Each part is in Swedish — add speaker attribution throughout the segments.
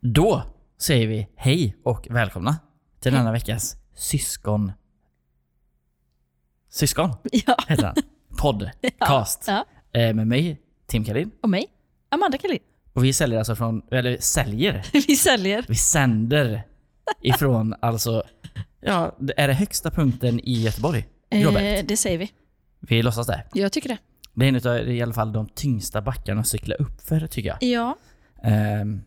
Speaker 1: Då säger vi hej och välkomna till denna veckas syskon... Syskon
Speaker 2: Ja.
Speaker 1: heter den. Podcast.
Speaker 2: ja.
Speaker 1: Eh, Med mig, Tim Kalin.
Speaker 2: Och mig, Amanda Kalin.
Speaker 1: Och vi säljer alltså från... Eller säljer?
Speaker 2: Vi säljer.
Speaker 1: Vi sänder ifrån alltså... Ja, det är det högsta punkten i Göteborg? Robert.
Speaker 2: Eh, det säger vi.
Speaker 1: Vi låtsas det.
Speaker 2: Jag tycker det.
Speaker 1: Det är en av i alla fall de tyngsta backarna att cykla upp för tycker jag.
Speaker 2: Ja.
Speaker 1: Ehm,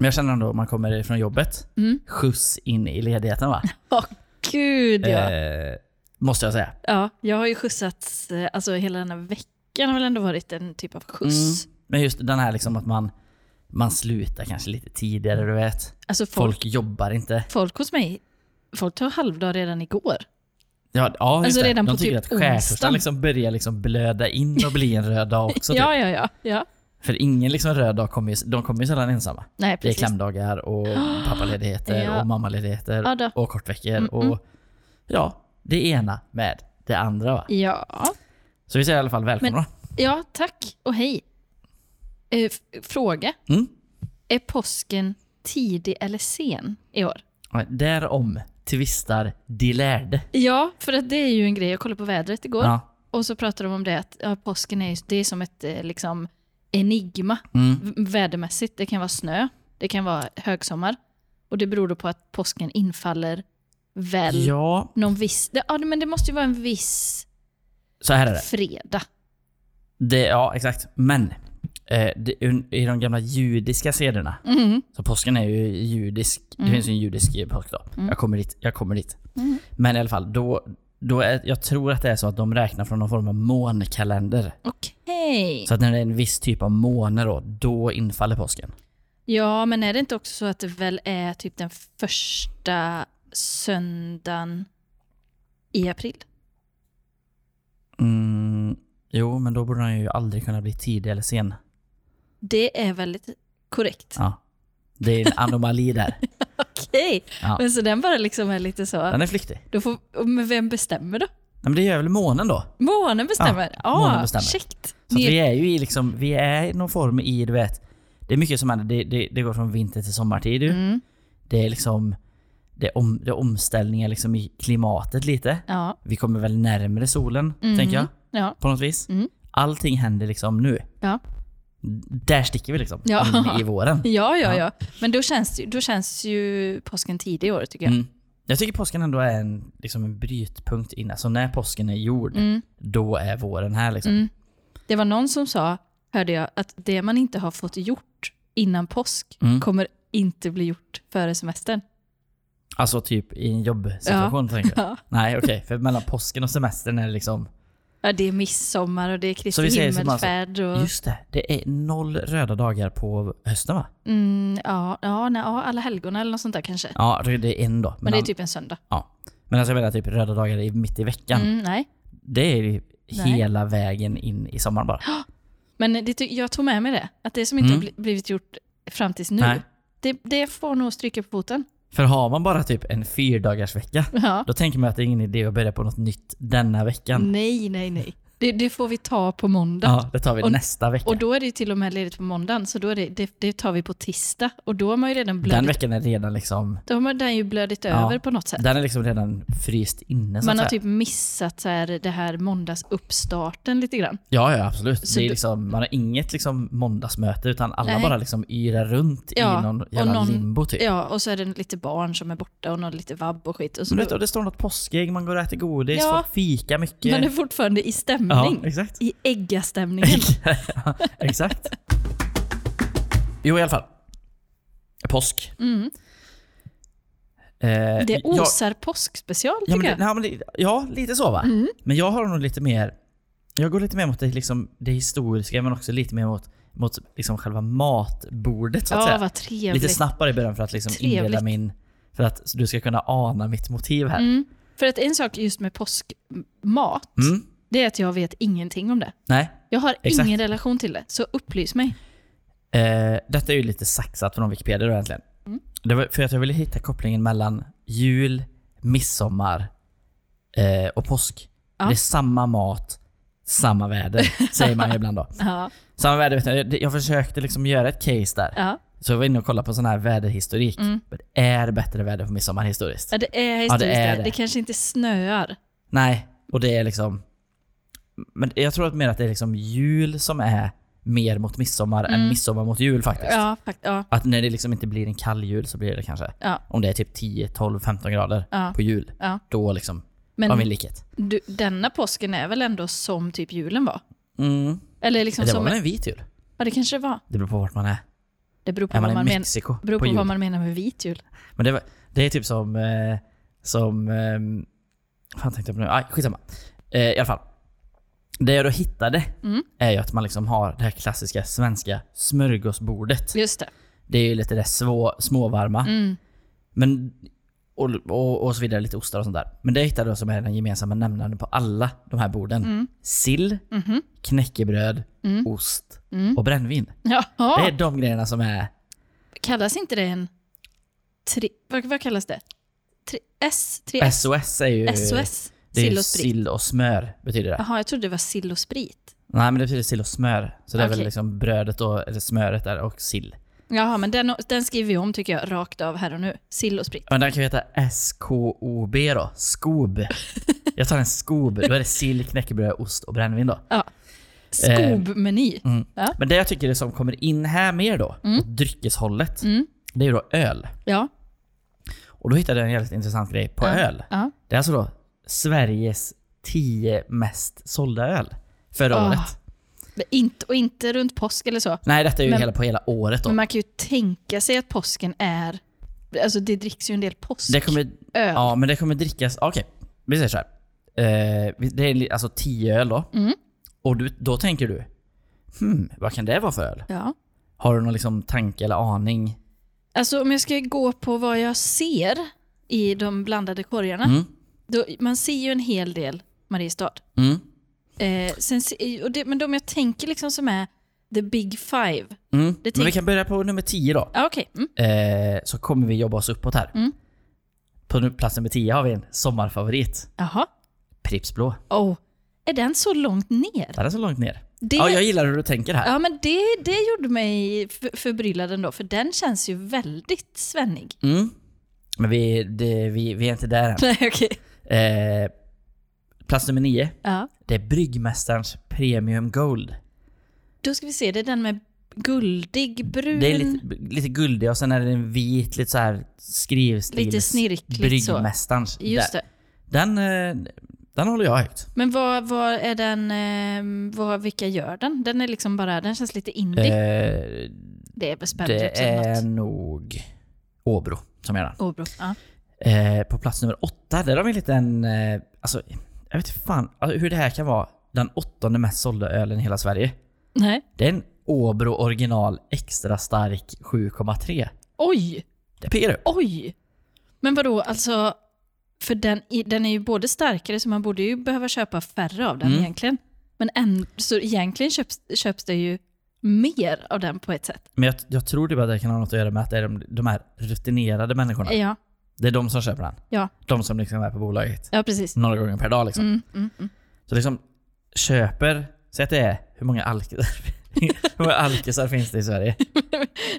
Speaker 1: men jag känner ändå om man kommer från jobbet,
Speaker 2: Mm.
Speaker 1: skjuts in i ledigheten va?
Speaker 2: Åh gud ja.
Speaker 1: Ehm, måste jag säga.
Speaker 2: ja. Jag har ju skjutsats, eh, alltså hela denna veckan har väl ändå varit en typ av skjuts.
Speaker 1: Mm. Men just den här liksom att man, man slutar kanske lite tidigare du vet.
Speaker 2: Alltså folk,
Speaker 1: Folk jobbar inte.
Speaker 2: folk hos mig, folk tar halvdag redan igår.
Speaker 1: Ja, ja just
Speaker 2: Alltså,
Speaker 1: det.
Speaker 2: redan
Speaker 1: De
Speaker 2: på
Speaker 1: tycker
Speaker 2: typ
Speaker 1: att skärtorsdagen
Speaker 2: onsdagen.
Speaker 1: liksom börjar liksom blöda in och bli en röd dag också.
Speaker 2: ja,
Speaker 1: typ.
Speaker 2: ja, ja, ja.
Speaker 1: För ingen liksom röd dag kommer ju, de kommer ju sällan ensamma.
Speaker 2: Nej,
Speaker 1: Det är
Speaker 2: precis.
Speaker 1: klämdagar och pappaledigheter
Speaker 2: Ja.
Speaker 1: och mammaledigheter
Speaker 2: Ja då. Mm,
Speaker 1: och kortveckor och ja, det ena med det andra va.
Speaker 2: Ja.
Speaker 1: Så vi säger i alla fall välkomna.
Speaker 2: ja, tack och hej. Eh, f- fråga.
Speaker 1: Mm.
Speaker 2: Är påsken tidig eller sen i år?
Speaker 1: Ja, Därom tvistar de lärde.
Speaker 2: Ja, för att det är ju en grej. Jag kollade på vädret igår.
Speaker 1: Ja.
Speaker 2: Och så pratar de om det att ja, påsken är, ju- det är som ett eh, liksom, enigma
Speaker 1: Mm.
Speaker 2: v- vädermässigt. Det kan vara snö, det kan vara högsommar. Och det beror då på att påsken infaller väl
Speaker 1: ja,
Speaker 2: någon viss... Det, ja, men det måste ju vara en viss
Speaker 1: så här är det.
Speaker 2: fredag.
Speaker 1: det ja, exakt. Men eh, det, i de gamla judiska sederna,
Speaker 2: Mm.
Speaker 1: så påsken är ju judisk. Det
Speaker 2: Mm.
Speaker 1: finns ju en judisk påsk då. Jag kommer dit. Jag kommer dit.
Speaker 2: Mm.
Speaker 1: Men i alla fall, då, då är, jag tror att det är så att de räknar från någon form av månkalender.
Speaker 2: Okej.
Speaker 1: Så att när det är en viss typ av måne då, då infaller påsken.
Speaker 2: Ja, men är det inte också så att det väl är typ den första söndagen i april?
Speaker 1: Mm, jo, men då borde den ju aldrig kunna bli tidig eller sen.
Speaker 2: Det är väldigt korrekt.
Speaker 1: Ja. Det är en anomali där.
Speaker 2: Okej.
Speaker 1: Ja.
Speaker 2: Men så den bara liksom är lite så...
Speaker 1: Den är flyktig.
Speaker 2: Då får, men vem bestämmer då?
Speaker 1: Nej, men det gör väl månen då?
Speaker 2: Månen bestämmer? Ja,
Speaker 1: månen bestämmer.
Speaker 2: käckt.
Speaker 1: Så att
Speaker 2: Ner-
Speaker 1: vi är ju i liksom, vi är i någon form i, du vet. Det är mycket som händer. Det, det, det går från vinter till sommartid ju.
Speaker 2: Mm.
Speaker 1: Det är liksom, det är, om, det är omställningar liksom i klimatet lite.
Speaker 2: Ja.
Speaker 1: Vi kommer väl närmare solen,
Speaker 2: Mm.
Speaker 1: tänker jag.
Speaker 2: Ja.
Speaker 1: På något vis.
Speaker 2: Mm.
Speaker 1: Allting händer liksom nu.
Speaker 2: Ja.
Speaker 1: Där sticker vi liksom.
Speaker 2: Ja.
Speaker 1: In i våren.
Speaker 2: Ja, ja,
Speaker 1: Ja.
Speaker 2: ja. Men då känns, det ju- då känns ju påsken tidig i år tycker jag.
Speaker 1: Mm. Jag tycker påsken ändå är en, liksom en brytpunkt innan. Så när påsken är gjord,
Speaker 2: Mm.
Speaker 1: då är våren här liksom.
Speaker 2: Mm. Det var någon som sa, hörde jag, att det man inte har fått gjort innan påsk
Speaker 1: Mm.
Speaker 2: kommer inte bli gjort före semestern.
Speaker 1: Alltså typ i en jobbsituation tänker jag.
Speaker 2: Ja.
Speaker 1: Nej okej, för mellan påsken och semestern är det liksom...
Speaker 2: Ja, det är midsommar och det är
Speaker 1: Så
Speaker 2: Kristi
Speaker 1: vi säger som alltså-
Speaker 2: himmelsfärd. Och,
Speaker 1: Just det, det är noll röda dagar på hösten va?
Speaker 2: mm, ja, ja, nej, ja, alla helgona eller något sånt där kanske.
Speaker 1: Ja, det är en då.
Speaker 2: Men det är
Speaker 1: an-
Speaker 2: typ en söndag.
Speaker 1: ja. men alltså jag menar typ röda dagar i, mitt i veckan.
Speaker 2: Mm, nej.
Speaker 1: Det är ju
Speaker 2: Nej.
Speaker 1: hela vägen in i sommaren bara.
Speaker 2: Men det, ty- jag tog med mig det. Att det som inte
Speaker 1: Mm.
Speaker 2: har bli- blivit gjort fram tills nu,
Speaker 1: Nej.
Speaker 2: det, det får nog stryka på foten.
Speaker 1: För har man bara typ en fyrdagarsvecka,
Speaker 2: Ja.
Speaker 1: då tänker man att det är ingen idé att börja på något nytt denna veckan.
Speaker 2: Nej, nej, nej. Det, det får vi ta på måndag.
Speaker 1: Ja, det tar vi
Speaker 2: Och-
Speaker 1: nästa vecka.
Speaker 2: Och då är det ju till och med ledigt på måndagen, så då är det, det, det tar vi på tisdag. Och då har man ju redan
Speaker 1: den
Speaker 2: blödit,
Speaker 1: veckan är redan liksom,
Speaker 2: då har man den ju blödit
Speaker 1: Ja.
Speaker 2: över på något sätt.
Speaker 1: den är liksom redan fryst inne så
Speaker 2: Man
Speaker 1: att
Speaker 2: har
Speaker 1: säga.
Speaker 2: typ missat så här, det här måndagsuppstarten lite grann.
Speaker 1: Ja, ja absolut.
Speaker 2: Så
Speaker 1: det är
Speaker 2: då-
Speaker 1: liksom, man har inget liksom måndagsmöte utan alla
Speaker 2: Nej.
Speaker 1: bara liksom yrar runt
Speaker 2: Ja,
Speaker 1: i någon
Speaker 2: och
Speaker 1: jävla
Speaker 2: någon-
Speaker 1: limbo typ.
Speaker 2: Ja, och så är det lite barn som är borta och någon lite vabb och skit. Och så
Speaker 1: Men vet
Speaker 2: då,
Speaker 1: du, det står något påskägg, man går och äter godis,
Speaker 2: Ja.
Speaker 1: folk fikar mycket.
Speaker 2: man är fortfarande i
Speaker 1: ja,
Speaker 2: stämning.
Speaker 1: exakt.
Speaker 2: I äggastämningen.
Speaker 1: Ja, exakt. Jo, i alla fall. Påsk.
Speaker 2: Mm.
Speaker 1: Eh,
Speaker 2: Det
Speaker 1: jag-
Speaker 2: osar påskspecial
Speaker 1: ja, men
Speaker 2: tycker
Speaker 1: det,
Speaker 2: jag.
Speaker 1: nej, men det, ja, lite så va?
Speaker 2: Mm.
Speaker 1: Men jag har nog lite mer... Jag går lite mer mot det, liksom, det historiska men också lite mer mot, mot liksom själva matbordet så att
Speaker 2: Ja,
Speaker 1: säga.
Speaker 2: vad trevligt.
Speaker 1: Lite snabbare i början för att liksom inleda
Speaker 2: Trevligt.
Speaker 1: min... För att du ska kunna ana mitt motiv här.
Speaker 2: Mm. För att en sak just med påskmat,
Speaker 1: Mm.
Speaker 2: det är att jag vet ingenting om det.
Speaker 1: Nej.
Speaker 2: Jag har
Speaker 1: Exakt.
Speaker 2: ingen relation till det, så upplys mig.
Speaker 1: Eh, detta är ju lite saxat från Wikipedia då egentligen.
Speaker 2: Mm.
Speaker 1: Det var för att jag ville hitta kopplingen mellan jul, midsommar eh, och påsk.
Speaker 2: Ja.
Speaker 1: Det är samma mat, samma väder, säger man ju ibland då.
Speaker 2: Ja,
Speaker 1: Samma väder, vet jag, jag försökte liksom göra ett case där.
Speaker 2: ja.
Speaker 1: Så jag var inne och kollade på sån här väderhistorik.
Speaker 2: Mm.
Speaker 1: Och Det är bättre väder på midsommar historiskt.
Speaker 2: Ja, det är
Speaker 1: Ja,
Speaker 2: historiskt.
Speaker 1: det
Speaker 2: det,
Speaker 1: är
Speaker 2: det.
Speaker 1: det.
Speaker 2: kanske inte snöar.
Speaker 1: Nej, och det är liksom... Men jag tror att mer att det är liksom jul som är mer mot midsommar än
Speaker 2: Mm.
Speaker 1: midsommar mot jul faktiskt.
Speaker 2: Ja, fakt- ja,
Speaker 1: Att när det liksom inte blir en kall jul så blir det kanske,
Speaker 2: ja,
Speaker 1: om det är typ 10, 12, 15 grader
Speaker 2: ja.
Speaker 1: på jul,
Speaker 2: Ja.
Speaker 1: då liksom har vi
Speaker 2: Men
Speaker 1: likhet.
Speaker 2: du, denna påsken är väl ändå som typ julen var?
Speaker 1: Mm.
Speaker 2: Eller liksom
Speaker 1: Det
Speaker 2: som...
Speaker 1: var väl en vit jul?
Speaker 2: Ja, det kanske det var.
Speaker 1: Det beror på vart man är.
Speaker 2: Det beror på,
Speaker 1: Är man
Speaker 2: vad,
Speaker 1: i
Speaker 2: man men,
Speaker 1: Mexiko
Speaker 2: beror
Speaker 1: på
Speaker 2: på
Speaker 1: jul?
Speaker 2: vad man menar med vit jul.
Speaker 1: Men det, var, det är typ som... Eh, som... Eh, vad fan tänkte jag på nu? Aj, skitsamma. Eh, I alla fall. Det jag då hittade
Speaker 2: Mm.
Speaker 1: är ju att man liksom har det här klassiska svenska smörgåsbordet.
Speaker 2: Just det.
Speaker 1: Det är ju lite det svå, småvarma.
Speaker 2: Mm.
Speaker 1: Men, och, och, och så vidare, lite ostar och sånt där. Men det jag hittade då som är den gemensamma nämnaren på alla de här borden.
Speaker 2: Mm.
Speaker 1: Sill,
Speaker 2: Mhm.
Speaker 1: knäckebröd,
Speaker 2: Mm. Ah.
Speaker 1: ost
Speaker 2: Mm.
Speaker 1: och brännvin. Det
Speaker 2: Jaha.
Speaker 1: är de grejerna som är...
Speaker 2: Kallas inte det en... Tri... Vad, vad kallas det? Tri... S? 3 S?
Speaker 1: SOS är ju...
Speaker 2: SOS?
Speaker 1: Det är
Speaker 2: Sill
Speaker 1: ju
Speaker 2: och sprit? Ah.
Speaker 1: sill och smör betyder det.
Speaker 2: Jaha, jag trodde det var sill och sprit.
Speaker 1: Nej men det betyder sill och smör. Så det är
Speaker 2: Okej.
Speaker 1: väl liksom brödet och, eller smöret där och sill.
Speaker 2: Jaha, men den, den skriver vi om tycker jag rakt av här och nu. Sill och sprit.
Speaker 1: Men den kan ju heta SKOB då. Skob. Jag tar en skob. Då är det sill, knäckebröd, ost och brännvin då. Eh, mm.
Speaker 2: Skobmeny.
Speaker 1: Men det jag tycker det som kommer in här mer då, åt dryckeshållet,
Speaker 2: Mm.
Speaker 1: det är ju då öl.
Speaker 2: Ja.
Speaker 1: Och då hittade jag en jävligt intressant grej på
Speaker 2: Ja.
Speaker 1: öl.
Speaker 2: ja.
Speaker 1: Det är alltså då Sveriges 10 mest sålda öl förra
Speaker 2: Ah.
Speaker 1: året.
Speaker 2: Men Inte, och inte runt påsk eller så.
Speaker 1: Nej, detta är ju
Speaker 2: Men-
Speaker 1: hela, på hela året då.
Speaker 2: Men man kan ju tänka sig att påsken är... Alltså det dricks ju en del påsk.
Speaker 1: det kommer,
Speaker 2: öl.
Speaker 1: Ja, men det kommer drickas... Okej, vi säger så här. Eh, vi- det är li- alltså 10 öl då.
Speaker 2: Mm.
Speaker 1: Och du, då tänker du, hmm, vad kan det vara för öl?
Speaker 2: Ja.
Speaker 1: Har du någon liksom tanke eller aning?
Speaker 2: Alltså om jag ska gå på vad jag ser i de blandade korgarna.
Speaker 1: Mm.
Speaker 2: Då, man ser ju en hel del Mariestad.
Speaker 1: Mm.
Speaker 2: Eh, sen, se- och det, men de jag tänker liksom som är the big five.
Speaker 1: Mm.
Speaker 2: tänk-
Speaker 1: Men vi kan börja på nummer 10 då.
Speaker 2: Ah, Okej. Mm.
Speaker 1: Eh, så kommer vi jobba oss uppåt här.
Speaker 2: Mm.
Speaker 1: På nu- plats nummer 10 har vi en sommarfavorit.
Speaker 2: Jaha.
Speaker 1: Pripps Blå.
Speaker 2: Oh. Är den så långt ner?
Speaker 1: Där är så långt ner.
Speaker 2: Det,
Speaker 1: Ja, jag gillar hur du tänker här.
Speaker 2: ja, men det, det gjorde mig f- förbryllad ändå, för den känns ju väldigt svennig.
Speaker 1: Mm. Men vi, det, vi, vi är inte där än.
Speaker 2: Nej, okej.
Speaker 1: Eh, plats nummer 9.
Speaker 2: Ja.
Speaker 1: Det är Bryggmästarens Premium Gold.
Speaker 2: Då ska vi se, det är den med guldig, brun,
Speaker 1: Det är lite, lite guldig och sen är det en vit, lite så här skrivstils...
Speaker 2: lite snirkligt så.
Speaker 1: Bryggmästarens.
Speaker 2: Just
Speaker 1: Där.
Speaker 2: det.
Speaker 1: Den, eh, den håller jag högt.
Speaker 2: Men vad, vad är den, eh, vad, vilka gör den? Den är liksom bara, den känns lite indie.
Speaker 1: Eh,
Speaker 2: det är väl spännande
Speaker 1: det
Speaker 2: också. Är...
Speaker 1: är
Speaker 2: Något.
Speaker 1: nog Åbro som gör den.
Speaker 2: Åbro. Ja.
Speaker 1: Eh, på plats nummer åtta, där har vi en liten... Eh, alltså, jag vet inte fan alltså, hur det här kan vara den åttonde mest sålda ölen i hela Sverige.
Speaker 2: Nej.
Speaker 1: Det är en Åbro original extra stark 7,3.
Speaker 2: Oj,
Speaker 1: Det piggar upp.
Speaker 2: oj! Men vadå, alltså, för den, i- den är ju både starkare så man borde ju behöva köpa färre av den
Speaker 1: Mm.
Speaker 2: egentligen. Men en, så egentligen köps, köps det ju mer av den på ett sätt.
Speaker 1: Men jag, jag tror det bara det kan ha något att göra med att det är de, de här rutinerade människorna.
Speaker 2: Ja,
Speaker 1: Det är de som köper den.
Speaker 2: Ja.
Speaker 1: De som liksom är på bolaget.
Speaker 2: ja precis.
Speaker 1: Några gånger per dag liksom.
Speaker 2: Mm, mm, mm.
Speaker 1: Så liksom köper, säg att det är, hur många alkisar, hur många alkisar finns det i Sverige?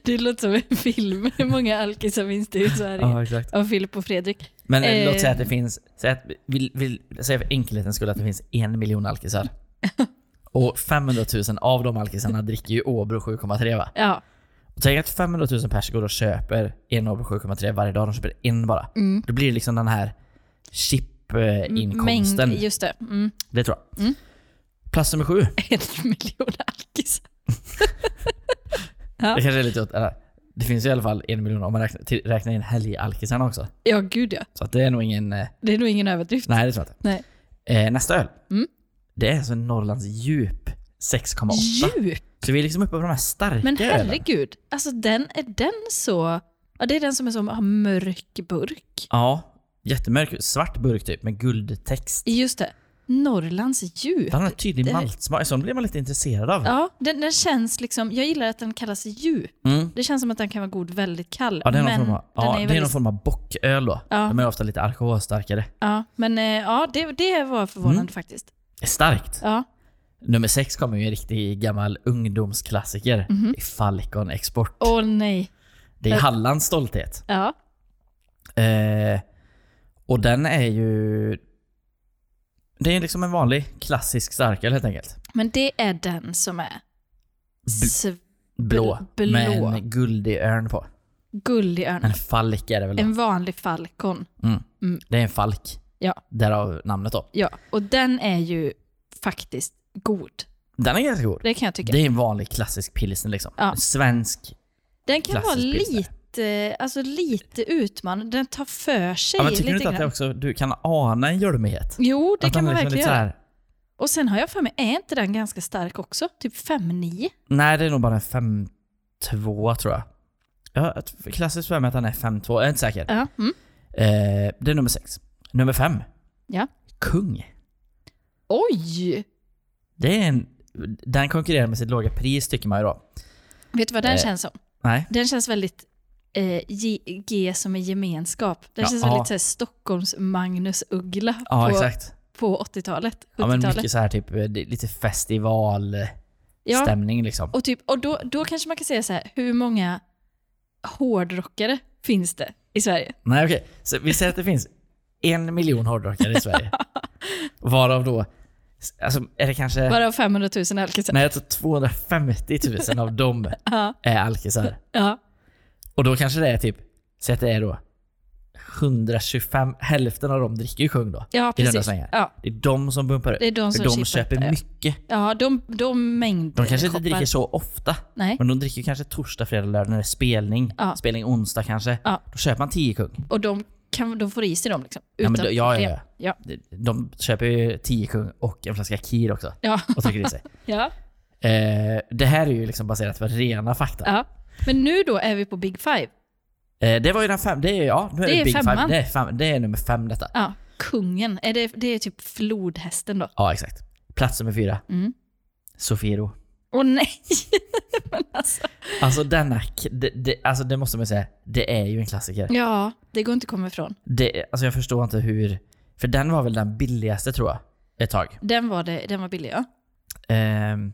Speaker 2: Det låter som en film. Hur många alkisar finns det i Sverige?
Speaker 1: exakt.
Speaker 2: Av Filip och Fredrik.
Speaker 1: Men eh,
Speaker 2: Eh.
Speaker 1: låt säga att det finns, säg, att, vill, vill, säg för enkelhetens skull att det finns en miljon alkisar. Och 500 000 av de alkisarna dricker ju Åbro 7,3 va?
Speaker 2: Ja.
Speaker 1: Och tänk att 500 000 pers går och köper en Åbro 7,3 varje dag, de köper en bara.
Speaker 2: Mm.
Speaker 1: Då blir det liksom den här chip-inkomsten.
Speaker 2: Mängd, just det. Mm.
Speaker 1: Det tror jag.
Speaker 2: Mm.
Speaker 1: Plats nummer sju.
Speaker 2: En miljon alkisar. Ja.
Speaker 1: Det kanske är lite åt, eller, Det finns ju i alla fall en miljon om man räknar, till, räknar in helgalkisarna också.
Speaker 2: Ja, gud ja.
Speaker 1: Så att det är nog ingen... eh,
Speaker 2: Det är nog ingen överdrift.
Speaker 1: Nej, det tror jag inte.
Speaker 2: Nej.
Speaker 1: Eh, nästa öl.
Speaker 2: Mm.
Speaker 1: Det är alltså Norrlands djup 6,8.
Speaker 2: Djup!
Speaker 1: Så vi är liksom uppe på de här starka
Speaker 2: Men
Speaker 1: ölen.
Speaker 2: herregud, alltså den, är den så... Ja, det är den som är som har mörk burk.
Speaker 1: Ja. Jättemörk, svart burk typ med guldtext.
Speaker 2: Just det. Norrlands djup.
Speaker 1: Den har en tydlig
Speaker 2: Det-
Speaker 1: maltsmak, sån blir man lite intresserad av.
Speaker 2: Ja, den, den känns liksom... Jag gillar att den kallas djup.
Speaker 1: Mm.
Speaker 2: Det känns som att den kan vara god väldigt kall.
Speaker 1: Ja, det är någon
Speaker 2: men
Speaker 1: form av,
Speaker 2: den
Speaker 1: ja,
Speaker 2: är
Speaker 1: det är
Speaker 2: väldigt-
Speaker 1: någon form av bocköl då.
Speaker 2: Ja.
Speaker 1: De är ofta lite alkoholstarkare.
Speaker 2: Ja, men eh, ja, det, det var förvånande
Speaker 1: Mm.
Speaker 2: faktiskt.
Speaker 1: Det är starkt.
Speaker 2: Ja.
Speaker 1: Nummer sex kommer ju en riktig gammal ungdomsklassiker.
Speaker 2: Mhm.
Speaker 1: Det är Falcon Export.
Speaker 2: Åh nej.
Speaker 1: Det är
Speaker 2: eh.
Speaker 1: Hallands stolthet.
Speaker 2: Ja.
Speaker 1: Eh, och den är ju... Det är liksom en vanlig klassisk starköl helt enkelt.
Speaker 2: Men det är den som är sv-
Speaker 1: Blå.
Speaker 2: Bl- blå.
Speaker 1: Med en guldig örn på.
Speaker 2: gullig örn.
Speaker 1: En falk är det väl? då?
Speaker 2: En vanlig falcon.
Speaker 1: Mm.
Speaker 2: Mm.
Speaker 1: Det är en falk.
Speaker 2: Ja.
Speaker 1: Därav namnet då.
Speaker 2: Ja, och den är ju faktiskt god.
Speaker 1: Den är ganska god.
Speaker 2: Det kan jag tycka.
Speaker 1: Det är en vanlig klassisk pilsner liksom.
Speaker 2: Ja.
Speaker 1: En Svensk.
Speaker 2: den kan vara
Speaker 1: klassisk pilsner.
Speaker 2: lite, alltså lite utmanande. Den tar för sig
Speaker 1: Ja, men tycker du inte
Speaker 2: lite
Speaker 1: att
Speaker 2: grann.
Speaker 1: det också, du kan ana en hjulmighet?
Speaker 2: Jo, det
Speaker 1: Att
Speaker 2: kan
Speaker 1: den
Speaker 2: man
Speaker 1: liksom är
Speaker 2: verkligen
Speaker 1: lite så
Speaker 2: göra.
Speaker 1: här-
Speaker 2: Och sen har jag för mig, är inte den ganska stark också? Typ 5-9?
Speaker 1: Nej, det är nog bara en 5-2 tror jag. Ja, ett- klassiskt för mig att den är 5-2. Jag är inte säker.
Speaker 2: Ja. Mm.
Speaker 1: Eh, det är nummer sex. Nummer fem.
Speaker 2: Ja.
Speaker 1: Kung.
Speaker 2: Oj!
Speaker 1: Det är en... Den konkurrerar med sitt låga pris tycker man ju då.
Speaker 2: Vet du vad den
Speaker 1: Eh.
Speaker 2: känns som?
Speaker 1: Nej.
Speaker 2: Den känns väldigt eh, G, G som är gemenskap. Den
Speaker 1: Ja,
Speaker 2: känns
Speaker 1: ja.
Speaker 2: väldigt så här, Stockholms Magnus Uggla
Speaker 1: Ja,
Speaker 2: på,
Speaker 1: exakt.
Speaker 2: på 80-talet,
Speaker 1: Ja, men
Speaker 2: 70-talet.
Speaker 1: mycket så här typ, eh, det är lite festivalstämning
Speaker 2: Ja,
Speaker 1: liksom.
Speaker 2: och, typ, och då, då kanske man kan säga så här, hur många hårdrockare finns det i Sverige?
Speaker 1: Nej okej, så vi säger att det finns en miljon hårdrockare i Sverige. Varav då, alltså är det kanske,
Speaker 2: Bara 500 000 alkisar.
Speaker 1: nej jag tror 250 000 av dem
Speaker 2: Ja,
Speaker 1: är alkisar.
Speaker 2: ja.
Speaker 1: Och då kanske det är typ, säg att det är då 125, hälften av dem dricker ju kung då.
Speaker 2: ja
Speaker 1: I runda
Speaker 2: precis.
Speaker 1: svängar.
Speaker 2: Ja,
Speaker 1: Det är de som bumpar upp.
Speaker 2: det är de
Speaker 1: För
Speaker 2: som
Speaker 1: de
Speaker 2: chippar
Speaker 1: köper
Speaker 2: upp det, ja.
Speaker 1: mycket.
Speaker 2: Ja, de, de mängd
Speaker 1: De kanske inte
Speaker 2: shoppar.
Speaker 1: dricker så ofta.
Speaker 2: Nej,
Speaker 1: Men de dricker ju kanske torsdag, fredag, lördag när det är spelning.
Speaker 2: Ja.
Speaker 1: Spelning onsdag kanske.
Speaker 2: Ja.
Speaker 1: Då köper man 10 kung.
Speaker 2: och de, kan, de får i sig dem liksom.
Speaker 1: Ja, men
Speaker 2: utan
Speaker 1: då, ja, ja,
Speaker 2: problem.
Speaker 1: ja. De köper ju 10 kung och en flaska kir också.
Speaker 2: Ja.
Speaker 1: Och trycker i sig.
Speaker 2: ja.
Speaker 1: Eh, det här är ju liksom baserat på rena fakta.
Speaker 2: Ja. Men nu då är vi på Big Five.
Speaker 1: Eh, det var ju den fem... Det är, ja, nu är
Speaker 2: Det
Speaker 1: det,
Speaker 2: är
Speaker 1: Big
Speaker 2: femman.
Speaker 1: Five. Det är, fem, det är nummer fem detta. Ja,
Speaker 2: Ja, kungen. Är det, det är typ flodhästen då.
Speaker 1: exakt. Plats nummer fyra.
Speaker 2: Mm.
Speaker 1: Sofiero.
Speaker 2: Åh nej! Men alltså.
Speaker 1: Alltså denna... k- Det, det, alltså det måste man ju säga. Det är ju en klassiker.
Speaker 2: Ja, det går inte att komma ifrån.
Speaker 1: Det, alltså jag förstår inte hur... För den var väl den billigaste tror jag. Ett tag.
Speaker 2: Den var, det, den var billig ja.
Speaker 1: Ehm,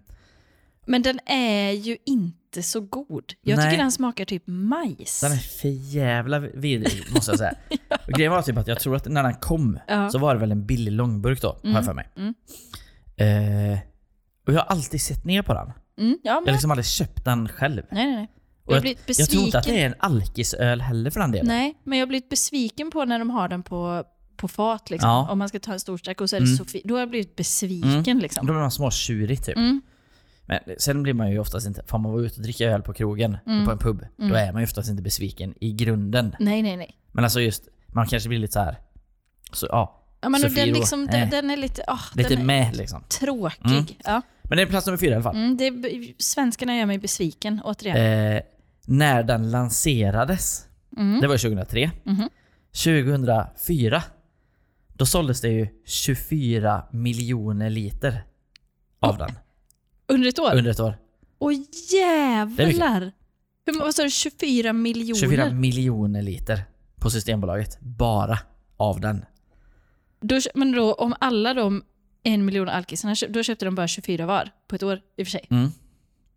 Speaker 2: Men den är ju inte så god. Jag
Speaker 1: Nej.
Speaker 2: tycker den smakar typ majs.
Speaker 1: den är för jävla vidrig måste jag säga. Och grejen var typ att jag tror att när den kom
Speaker 2: Ja.
Speaker 1: så var det väl en billig långburk då, har jag för mig.
Speaker 2: mm.
Speaker 1: Eh, och jag har alltid sett ner på den.
Speaker 2: Mm, ja,
Speaker 1: Jag har
Speaker 2: men...
Speaker 1: liksom aldrig köpt den själv.
Speaker 2: Nej, nej, nej.
Speaker 1: Och
Speaker 2: Jag har
Speaker 1: jag,
Speaker 2: blivit
Speaker 1: jag tror inte
Speaker 2: besviken.
Speaker 1: att det är en alkisöl heller för den delen.
Speaker 2: Nej, men jag har blivit besviken på när de har den på, på fat. Liksom.
Speaker 1: Ja.
Speaker 2: Om man ska ta en stor stark och så är det
Speaker 1: Mm.
Speaker 2: Sofie. Då har jag blivit besviken
Speaker 1: Då
Speaker 2: liksom.
Speaker 1: blir man småtjurig typ.
Speaker 2: Mm.
Speaker 1: Men sen blir man ju oftast inte, får man vara ute och dricka öl på krogen,
Speaker 2: Mm.
Speaker 1: på en pub,
Speaker 2: Mm.
Speaker 1: då är man ju oftast inte besviken i grunden.
Speaker 2: Nej, nej, nej.
Speaker 1: Men alltså just, man kanske blir lite så här. Så, ja,
Speaker 2: Ja, men den,
Speaker 1: Sofiero,
Speaker 2: liksom, den,
Speaker 1: nej.
Speaker 2: den är lite, ah,
Speaker 1: lite
Speaker 2: den är
Speaker 1: med liksom.
Speaker 2: tråkig.
Speaker 1: Mm.
Speaker 2: Ja.
Speaker 1: Men det är plats nummer fyra i alla fall.
Speaker 2: Mm, det, är- svenskarna gör mig besviken återigen.
Speaker 1: Eh, när den lanserades,
Speaker 2: Mm.
Speaker 1: det var ju 2003.
Speaker 2: Mhm.
Speaker 1: 2004, då såldes det ju 24 miljoner liter av den
Speaker 2: Under ett år?
Speaker 1: under ett år.
Speaker 2: Åh
Speaker 1: Det är
Speaker 2: jävlar! Hur, många- vad sa du, 24 miljoner?
Speaker 1: 24 miljoner liter på Systembolaget. Bara av den.
Speaker 2: Då, kö- men då, om alla de en miljon alkisarna, kö- då köpte de bara 24 var på ett år i och för sig.
Speaker 1: Mm.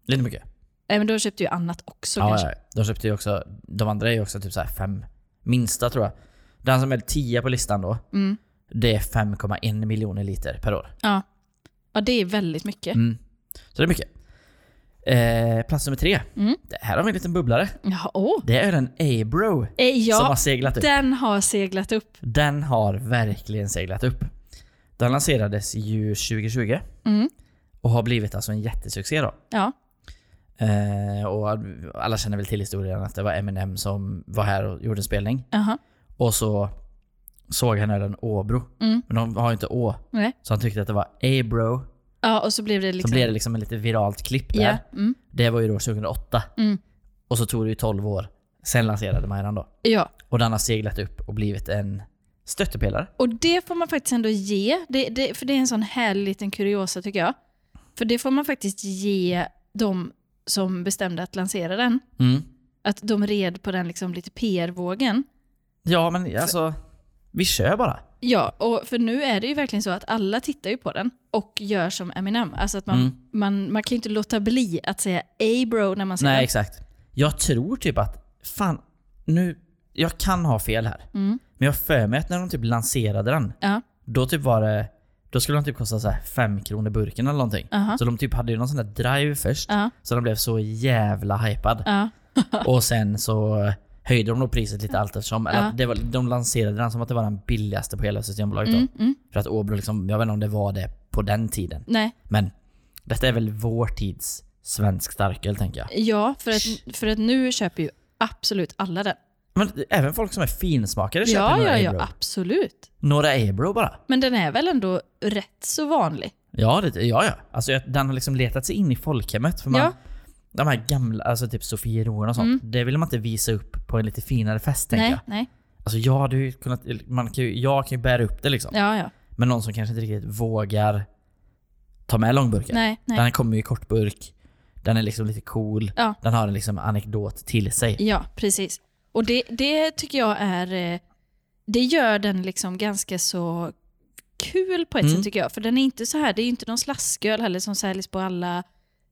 Speaker 1: Lite mycket.
Speaker 2: Nej, men då köpte ju annat också
Speaker 1: Ja,
Speaker 2: kanske.
Speaker 1: ja, de köpte ju också, de andra är ju också typ så här fem minsta tror jag. Den som är 10 på listan då,
Speaker 2: Mm.
Speaker 1: det är 5,1 miljoner liter per år.
Speaker 2: Ja. ja, det är väldigt mycket.
Speaker 1: Mm. Så det är mycket. Eh, plats nummer tre.
Speaker 2: Mm.
Speaker 1: Det här har vi en liten bubblare.
Speaker 2: Ja, åh.
Speaker 1: Det är en Abro
Speaker 2: Eh,
Speaker 1: som har
Speaker 2: ja
Speaker 1: seglat upp.
Speaker 2: den har seglat upp.
Speaker 1: Den har verkligen seglat upp. Den lanserades ju 2020
Speaker 2: Mm.
Speaker 1: och har blivit alltså en jättesuccé då.
Speaker 2: Ja.
Speaker 1: Eh, och alla känner väl till historien att det var Eminem som var här och gjorde en spelning.
Speaker 2: Aha.
Speaker 1: Och så såg han ölen Åbro.
Speaker 2: Mm.
Speaker 1: Men de har ju inte Å.
Speaker 2: Nej.
Speaker 1: Så han tyckte att det var A-bro.
Speaker 2: ja, och så blev det
Speaker 1: Så
Speaker 2: liksom...
Speaker 1: blev det liksom ett lite viralt klipp där.
Speaker 2: ja. Mm.
Speaker 1: Det var ju då 2008.
Speaker 2: Mm.
Speaker 1: Och så tog det ju 12 år. Sen lanserade man den då.
Speaker 2: ja.
Speaker 1: Och den har seglat upp och blivit en stöttepelare.
Speaker 2: Och det får man faktiskt ändå ge, det, det, för det är en sån härlig liten kuriosa tycker jag. För det får man faktiskt ge de som bestämde att lansera den.
Speaker 1: Mm.
Speaker 2: Att de red på den liksom lite PR-vågen.
Speaker 1: Ja men alltså, Vi kör bara.
Speaker 2: Ja, och för nu är det ju verkligen så att alla tittar ju på den och gör som Eminem. Alltså att man,
Speaker 1: Mm.
Speaker 2: man, man kan ju inte låta bli att säga ey bro när man ser
Speaker 1: Nej,
Speaker 2: den.
Speaker 1: exakt. Jag tror typ att, fan, nu, jag kan ha fel här.
Speaker 2: Mm.
Speaker 1: Men jag har för mig att när de typ lanserade den,
Speaker 2: Ja,
Speaker 1: då typ var det, då skulle den typ kosta så här 5 kronor burken eller någonting.
Speaker 2: Aha.
Speaker 1: Så de typ hade ju någon sån där drive först,
Speaker 2: ja,
Speaker 1: så den blev så jävla hypad.
Speaker 2: ja.
Speaker 1: Och sen så höjde de då priset lite allt eftersom. Eller att det var, de lanserade den som att det var den billigaste på hela Systembolaget
Speaker 2: Mm,
Speaker 1: då.
Speaker 2: mm.
Speaker 1: För att Åbro liksom, jag vet inte om det var det på den tiden.
Speaker 2: Nej,
Speaker 1: Men detta är väl vår tids svensk starköl tänker jag.
Speaker 2: ja, för att, för att nu köper ju absolut alla den.
Speaker 1: Men även folk som är finsmakare köper
Speaker 2: Ja,
Speaker 1: några
Speaker 2: ja,
Speaker 1: Abro.
Speaker 2: ja, absolut.
Speaker 1: Några Abro bara.
Speaker 2: Men den är väl ändå rätt så vanlig?
Speaker 1: Ja, det, ja, ja. Alltså, jag- den har liksom letat sig in i folkhemmet. För man,
Speaker 2: Ja.
Speaker 1: De här gamla, alltså typ Sofieroen och sånt. Det vill man inte visa upp på en lite finare fest tänker
Speaker 2: Mm.
Speaker 1: jag.
Speaker 2: nej, nej.
Speaker 1: Alltså jag hade ju kunnat, man kan ju, jag kan ju bära upp det liksom.
Speaker 2: Ja, ja.
Speaker 1: Men någon som kanske inte riktigt vågar ta med långburken.
Speaker 2: Nej, nej.
Speaker 1: Den kommer ju i kortburk. Den är liksom lite cool.
Speaker 2: Ja.
Speaker 1: Den har en liksom anekdot till sig.
Speaker 2: Ja, precis. Och det, det tycker jag är... eh, Det gör den liksom ganska så kul på ett
Speaker 1: Mm.
Speaker 2: sätt tycker jag. För den är inte så här, det är ju inte någon slasköl heller som säljs på alla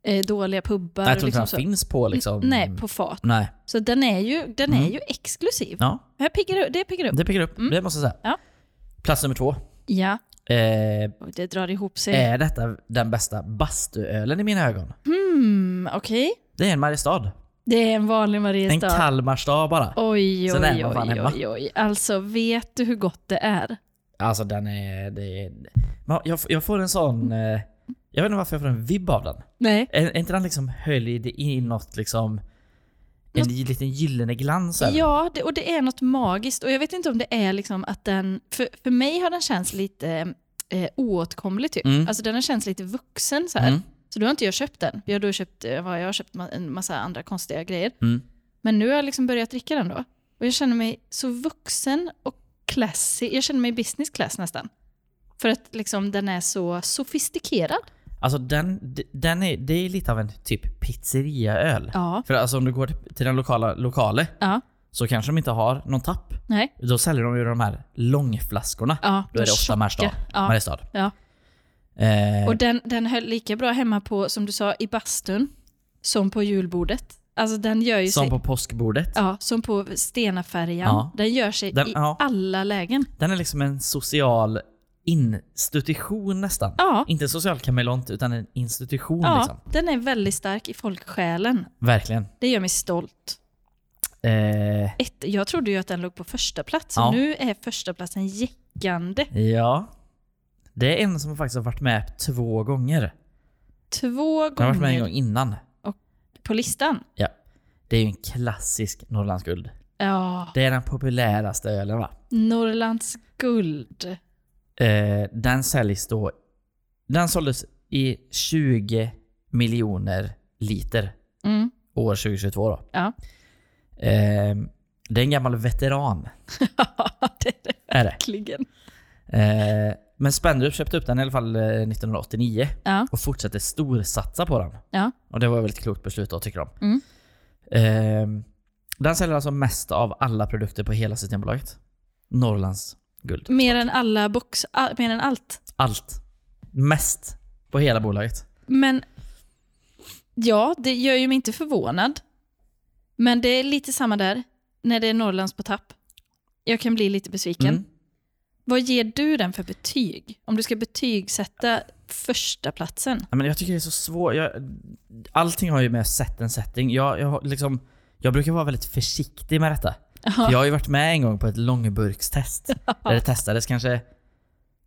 Speaker 2: eh, dåliga pubbar.
Speaker 1: jag
Speaker 2: och
Speaker 1: tror inte
Speaker 2: liksom
Speaker 1: den
Speaker 2: så.
Speaker 1: finns på liksom...
Speaker 2: Nej, på fat.
Speaker 1: Nej.
Speaker 2: Så den är ju, den är
Speaker 1: Mm.
Speaker 2: ju exklusiv.
Speaker 1: Ja, Mm.
Speaker 2: Här piggar det, det piggar upp.
Speaker 1: det pickar upp. Det måste jag säga.
Speaker 2: Mm. Ja.
Speaker 1: Plats nummer två.
Speaker 2: Ja,
Speaker 1: Eh,
Speaker 2: och det drar ihop sig.
Speaker 1: är detta den bästa bastuölen i mina ögon?
Speaker 2: Mm, Okej.
Speaker 1: Det är en Mariestad.
Speaker 2: Det är en vanlig
Speaker 1: En
Speaker 2: Mariestad.
Speaker 1: Kalmarstad bara.
Speaker 2: Oj,
Speaker 1: Sen är
Speaker 2: oj,
Speaker 1: man fan
Speaker 2: oj,
Speaker 1: hemma.
Speaker 2: oj, oj. Alltså, vet du hur gott det är?
Speaker 1: Alltså den är... Det är Man- jag, f- jag får en sån... Eh, jag vet inte varför jag får en vibb av den.
Speaker 2: Nej.
Speaker 1: Är, är inte den liksom höljd i något liksom... En liten gyllene glans över?
Speaker 2: Ja, det, och det är något magiskt. Och jag vet inte om det är liksom att den... För, för mig har den känts lite eh, oåtkomlig typ.
Speaker 1: Mm.
Speaker 2: Alltså den har känts lite vuxen så här.
Speaker 1: Mm.
Speaker 2: Så då har inte jag köpt den. Jag, har då köpt, eh, vad, jag har köpt ma- en massa andra konstiga grejer.
Speaker 1: Mm.
Speaker 2: Men nu har jag liksom börjat dricka den då. Och jag känner mig så vuxen och classy. Jag känner mig business class nästan. För att liksom den är så sofistikerad.
Speaker 1: Alltså den, d- den är, det är lite av en typ pizzeriaöl.
Speaker 2: Ja.
Speaker 1: För alltså om du går till, till den lokala lokale
Speaker 2: Ja.
Speaker 1: så kanske de inte har någon tapp.
Speaker 2: Nej.
Speaker 1: Då säljer de ju de här långflaskorna.
Speaker 2: Ja.
Speaker 1: Då är det ofta
Speaker 2: tjocka.
Speaker 1: Mariestad.
Speaker 2: Ja.
Speaker 1: Mariestad.
Speaker 2: ja.
Speaker 1: Eh,
Speaker 2: Och den, den höll lika bra hemma på, som du sa, i bastun som på julbordet. Alltså den gör ju
Speaker 1: som
Speaker 2: sig...
Speaker 1: på påskbordet.
Speaker 2: Ja, som på Stenaffärjan.
Speaker 1: Ja.
Speaker 2: Den gör sig
Speaker 1: Den-
Speaker 2: i
Speaker 1: ja.
Speaker 2: alla lägen.
Speaker 1: Den är liksom en social institution nästan.
Speaker 2: Ja,
Speaker 1: Inte en social kameleont utan en institution
Speaker 2: ja
Speaker 1: liksom.
Speaker 2: den är väldigt stark i folksjälen.
Speaker 1: Verkligen.
Speaker 2: Det gör mig stolt.
Speaker 1: Eh,
Speaker 2: Ett, jag trodde ju att den låg på första plats
Speaker 1: Ja.
Speaker 2: och nu är första platsen jäckande.
Speaker 1: ja. Det är en som faktiskt har varit med två gånger.
Speaker 2: Två
Speaker 1: Den har varit med en
Speaker 2: gånger
Speaker 1: gång innan.
Speaker 2: på listan.
Speaker 1: Ja. Det är ju en klassisk Norrlands guld.
Speaker 2: Ja,
Speaker 1: Det är den populäraste ölen va?
Speaker 2: Norrlands guld.
Speaker 1: Eh, den säljs då... Den såldes i 20 miljoner liter
Speaker 2: Mm,
Speaker 1: år 2022 då.
Speaker 2: ja.
Speaker 1: Eh, det är en gammal veteran,
Speaker 2: det är det
Speaker 1: är det.
Speaker 2: verkligen.
Speaker 1: Eh, men Spendrup köpte upp den i alla fall eh, 1989
Speaker 2: Ja,
Speaker 1: och fortsatte storsatsa på den.
Speaker 2: ja.
Speaker 1: Och det var väl ett klokt beslut då, tycker de.
Speaker 2: Mm.
Speaker 1: Eh, den säljer alltså mest av alla produkter på hela Systembolaget. Norrlands guld.
Speaker 2: Mer än alla box, all, mer än allt.
Speaker 1: Allt. Mest på hela bolaget.
Speaker 2: Men ja, det gör ju mig inte förvånad. Men det är lite samma där, när det är Norrlands på tapp. Jag kan bli lite besviken.
Speaker 1: Mm.
Speaker 2: Vad ger du den för betyg? Om du ska betygsätta första platsen.
Speaker 1: Ja, Men jag tycker det är så svårt. Jag, allting har ju med set and setting. Jag, jag, har liksom, jag brukar vara väldigt försiktig med detta. För jag har ju varit med en gång på ett långburkstest. där det testades kanske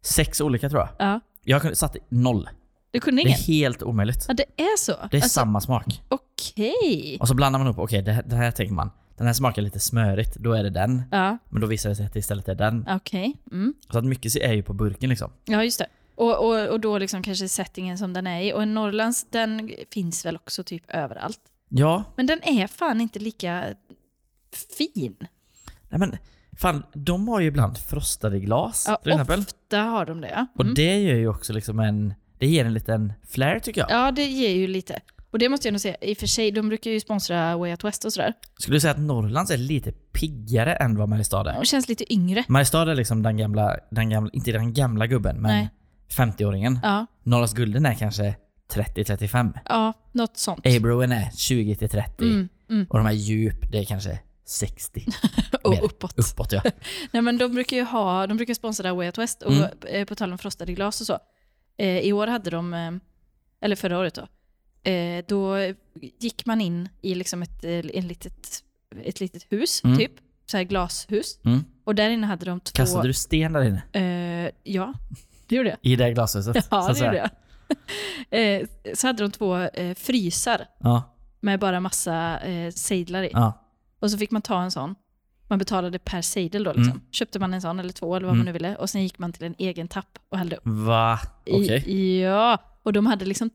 Speaker 1: sex olika tror jag.
Speaker 2: Ja,
Speaker 1: Jag kunde- satte noll.
Speaker 2: du kunde
Speaker 1: Det är
Speaker 2: ingen?
Speaker 1: helt omöjligt.
Speaker 2: Ja, det är så?
Speaker 1: Det är
Speaker 2: Alltså,
Speaker 1: samma smak.
Speaker 2: Okej.
Speaker 1: Och så blandar man upp. Okej, det här- det här tänker man. Den här smakar lite smörigt. Då är det den.
Speaker 2: Ja,
Speaker 1: Men då visar det sig att det istället är den.
Speaker 2: okej. Mm.
Speaker 1: Så att mycket är ju på burken liksom.
Speaker 2: Ja, just det. Och, och, och då liksom kanske settingen som den är i. Och en Norrlands, den finns väl också typ överallt.
Speaker 1: Ja,
Speaker 2: Men den är fan inte lika fin.
Speaker 1: nej men fan. De har ju ibland frostade glas
Speaker 2: Ja,
Speaker 1: till exempel.
Speaker 2: ofta har de det. ja.
Speaker 1: Och
Speaker 2: Mm.
Speaker 1: det gör ju också liksom en... Det ger en liten flair tycker jag.
Speaker 2: Ja, det ger ju lite. Och det måste jag nog säga, i och för sig, de brukar ju sponsra Way Out West och sådär.
Speaker 1: Skulle du säga att Norrlands är lite piggare än vad Mariestad är?
Speaker 2: De känns lite yngre.
Speaker 1: Mariestad är liksom den gamla, den gamla inte den gamla gubben, men
Speaker 2: Nej.
Speaker 1: 50-åringen.
Speaker 2: Ja,
Speaker 1: Norrlands Gulden är kanske 30-35.
Speaker 2: ja något sånt.
Speaker 1: Abroen är 20-30.
Speaker 2: Mm, mm.
Speaker 1: Och de här djup, det är kanske 60. mer.
Speaker 2: Och uppåt.
Speaker 1: Uppåt ja.
Speaker 2: Nej, men de brukar ju ha, de brukar sponsra Way Out West och
Speaker 1: Mm.
Speaker 2: eh, på tal om frostade glas och så. Eh, I år hade de, eh, eller förra året då, eh, då gick man in i liksom ett, eh, en litet, ett litet hus,
Speaker 1: Mm.
Speaker 2: typ. Så här glashus.
Speaker 1: Mm.
Speaker 2: Och där inne hade de två...
Speaker 1: Kastade du sten där inne?
Speaker 2: Eh, ja, det gjorde jag.
Speaker 1: I det här glashuset? så
Speaker 2: Ja,
Speaker 1: att
Speaker 2: det
Speaker 1: säga.
Speaker 2: gjorde jag. eh, så hade de två eh, frysar
Speaker 1: Ja,
Speaker 2: med bara massa eh, sejdlar i.
Speaker 1: ja.
Speaker 2: Och så fick man ta en sån. Man betalade per sejdel då. Liksom. Köpte man en sån eller två eller vad
Speaker 1: Mm.
Speaker 2: man nu ville. Och sen gick man till en egen tapp och hällde upp.
Speaker 1: Va? Okej.
Speaker 2: I, ja, och de hade liksom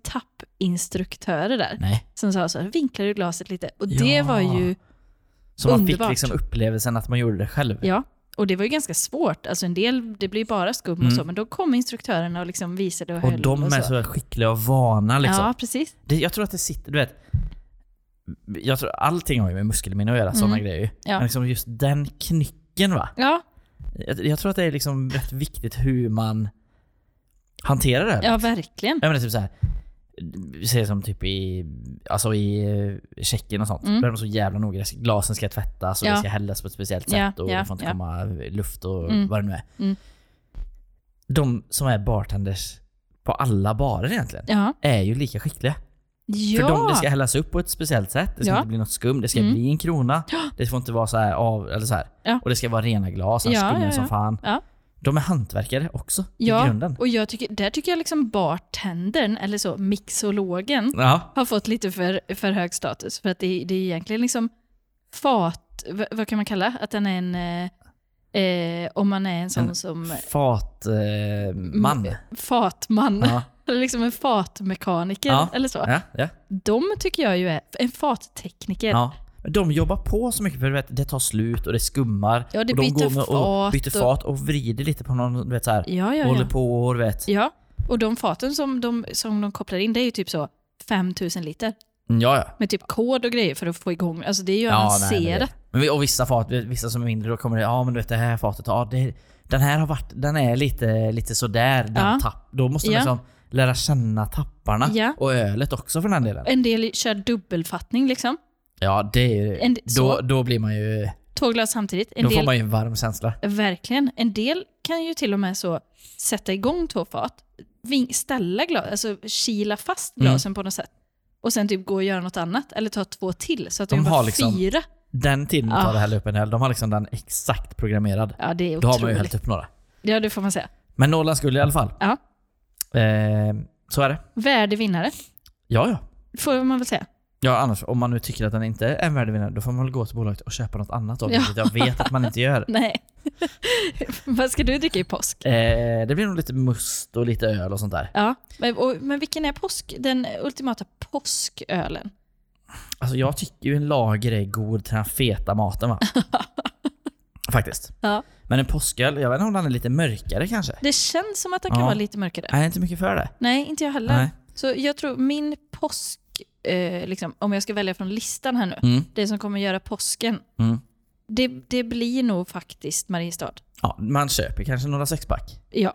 Speaker 2: tappinstruktörer där.
Speaker 1: Nej.
Speaker 2: Som sa så här, vinklar du glaset lite? Och det
Speaker 1: Ja.
Speaker 2: var ju,
Speaker 1: Så man fick
Speaker 2: Underbart.
Speaker 1: liksom upplevelsen att man gjorde det själv?
Speaker 2: ja. Och det var ju ganska svårt. Alltså en del, det blir bara skum och
Speaker 1: Mm.
Speaker 2: så. Men då kom instruktörerna och liksom visade och,
Speaker 1: Och
Speaker 2: höll
Speaker 1: de
Speaker 2: och
Speaker 1: är så skickliga och vana liksom.
Speaker 2: alltså. Ja, precis.
Speaker 1: Det, jag tror att det sitter, du vet. Jag tror allting har ju med muskelminne att göra, såna sådana grejer.
Speaker 2: Mm. Ja.
Speaker 1: Men liksom just den knycken va.
Speaker 2: Ja,
Speaker 1: Jag, jag tror att det är liksom rätt viktigt hur man hanterar det. här.
Speaker 2: ja verkligen.
Speaker 1: Ja men det är typ såhär, vi säger som typ i, alltså i eh, Tjeckien och sånt.
Speaker 2: Mm.
Speaker 1: Då är de så jävla noga. Glasen ska tvättas och
Speaker 2: Ja.
Speaker 1: det ska hällas på ett speciellt sätt
Speaker 2: Ja,
Speaker 1: och
Speaker 2: ja,
Speaker 1: det får inte
Speaker 2: ja.
Speaker 1: komma luft och
Speaker 2: Mm.
Speaker 1: vad det nu är.
Speaker 2: Mm.
Speaker 1: De som är bartenders på alla barer egentligen
Speaker 2: Ja.
Speaker 1: är ju lika skickliga.
Speaker 2: ja.
Speaker 1: För de, det ska hällas upp på ett speciellt sätt. Det ska
Speaker 2: Ja.
Speaker 1: inte bli något skum. Det ska
Speaker 2: Mm.
Speaker 1: bli en krona. Det får inte vara så här av, eller så här.
Speaker 2: Ja.
Speaker 1: Och det ska vara rena glas, ja,
Speaker 2: Ja,
Speaker 1: skumma
Speaker 2: ja, ja.
Speaker 1: som fan.
Speaker 2: Ja.
Speaker 1: De är hantverkare också i
Speaker 2: Ja,
Speaker 1: grunden.
Speaker 2: och jag tycker, där tycker jag liksom bartendern, eller så mixologen,
Speaker 1: Ja.
Speaker 2: har fått lite för, för hög status. För att det, det är egentligen liksom fat, v, vad kan man kalla att den är en, eh, eh, om man är en sån
Speaker 1: En-
Speaker 2: som
Speaker 1: Fatman. Eh,
Speaker 2: Mm.
Speaker 1: man.
Speaker 2: fatman,
Speaker 1: ja.
Speaker 2: eller liksom en fatmekaniker
Speaker 1: Ja.
Speaker 2: eller så.
Speaker 1: Ja, ja,
Speaker 2: De tycker jag ju är, en fattekniker.
Speaker 1: ja. Men De jobbar på så mycket för du vet, det tar slut och det skummar.
Speaker 2: Ja, det
Speaker 1: och de
Speaker 2: byter
Speaker 1: med och
Speaker 2: fat
Speaker 1: byter
Speaker 2: och-
Speaker 1: fat och vrider lite på någon, du vet såhär.
Speaker 2: ja, ja.
Speaker 1: Håller
Speaker 2: ja.
Speaker 1: på och du vet.
Speaker 2: ja. Och de faten som de, som de kopplar in, det är ju typ så 5000 liter.
Speaker 1: Mm, Ja, ja.
Speaker 2: Med typ kod och grejer för att få igång, alltså det är ju
Speaker 1: ja nej, men det-
Speaker 2: avancerat.
Speaker 1: men vi- och vissa fat, vissa som är mindre, då kommer det, ja men du vet det här fatet, ja det, den här har varit, den är lite, lite sådär, den
Speaker 2: Ja.
Speaker 1: tapp. Då måste man
Speaker 2: Ja.
Speaker 1: liksom lära känna tapparna.
Speaker 2: Ja. Eh,
Speaker 1: Och ölet också för den delen.
Speaker 2: En del kör dubbelfattning liksom.
Speaker 1: Ja, det är ju,
Speaker 2: En-
Speaker 1: då,
Speaker 2: så.
Speaker 1: då blir man ju,
Speaker 2: Två glas samtidigt. En
Speaker 1: då
Speaker 2: del,
Speaker 1: får man ju en varm känsla.
Speaker 2: Verkligen. En del kan ju till och med så sätta igång två fat, ving, ställa glas, alltså kila fast
Speaker 1: Mm.
Speaker 2: glasen på något sätt. Och sen typ gå och göra något annat, eller ta två till. Så att
Speaker 1: De
Speaker 2: de,
Speaker 1: har
Speaker 2: har
Speaker 1: liksom-
Speaker 2: fyra.
Speaker 1: Den tiden tar
Speaker 2: Ah.
Speaker 1: det hälla upp en öl, de har liksom den exakt programmerad.
Speaker 2: Ja, det är
Speaker 1: Då har man ju
Speaker 2: otroligt.
Speaker 1: hällt upp några.
Speaker 2: Ja, det får man säga.
Speaker 1: Men Norrland skulle i alla fall.
Speaker 2: Ja.
Speaker 1: Eh, så är det.
Speaker 2: Värdig vinnare,
Speaker 1: Ja, ja.
Speaker 2: får man väl säga.
Speaker 1: Ja, annars om man nu tycker att den inte är en värdevinnare, då får man väl gå till bolaget och köpa något annat av ja.
Speaker 2: Ja.
Speaker 1: vilket jag vet att man inte gör.
Speaker 2: Nej. Vad ska du dricka i påsk?
Speaker 1: Eh, det blir nog lite must och lite öl och sånt där.
Speaker 2: Ja, men, och, men vilken är påsk? Den ultimata påskölen?
Speaker 1: Alltså jag tycker ju en lager är god till den feta maten va? Faktiskt.
Speaker 2: Ja.
Speaker 1: Men en påsköl, jag vet inte om den är lite mörkare kanske?
Speaker 2: Det känns som att den kan
Speaker 1: Ja.
Speaker 2: vara lite mörkare.
Speaker 1: Nej, jag är inte mycket för det.
Speaker 2: Nej, inte jag heller.
Speaker 1: Nej.
Speaker 2: Så jag tror min påsk, eh, liksom, om jag ska välja från listan här nu,
Speaker 1: Mm.
Speaker 2: det som kommer göra påsken,
Speaker 1: Mm.
Speaker 2: det, det blir nog faktiskt Mariestad.
Speaker 1: Ja, man köper kanske några sexpack.
Speaker 2: Ja.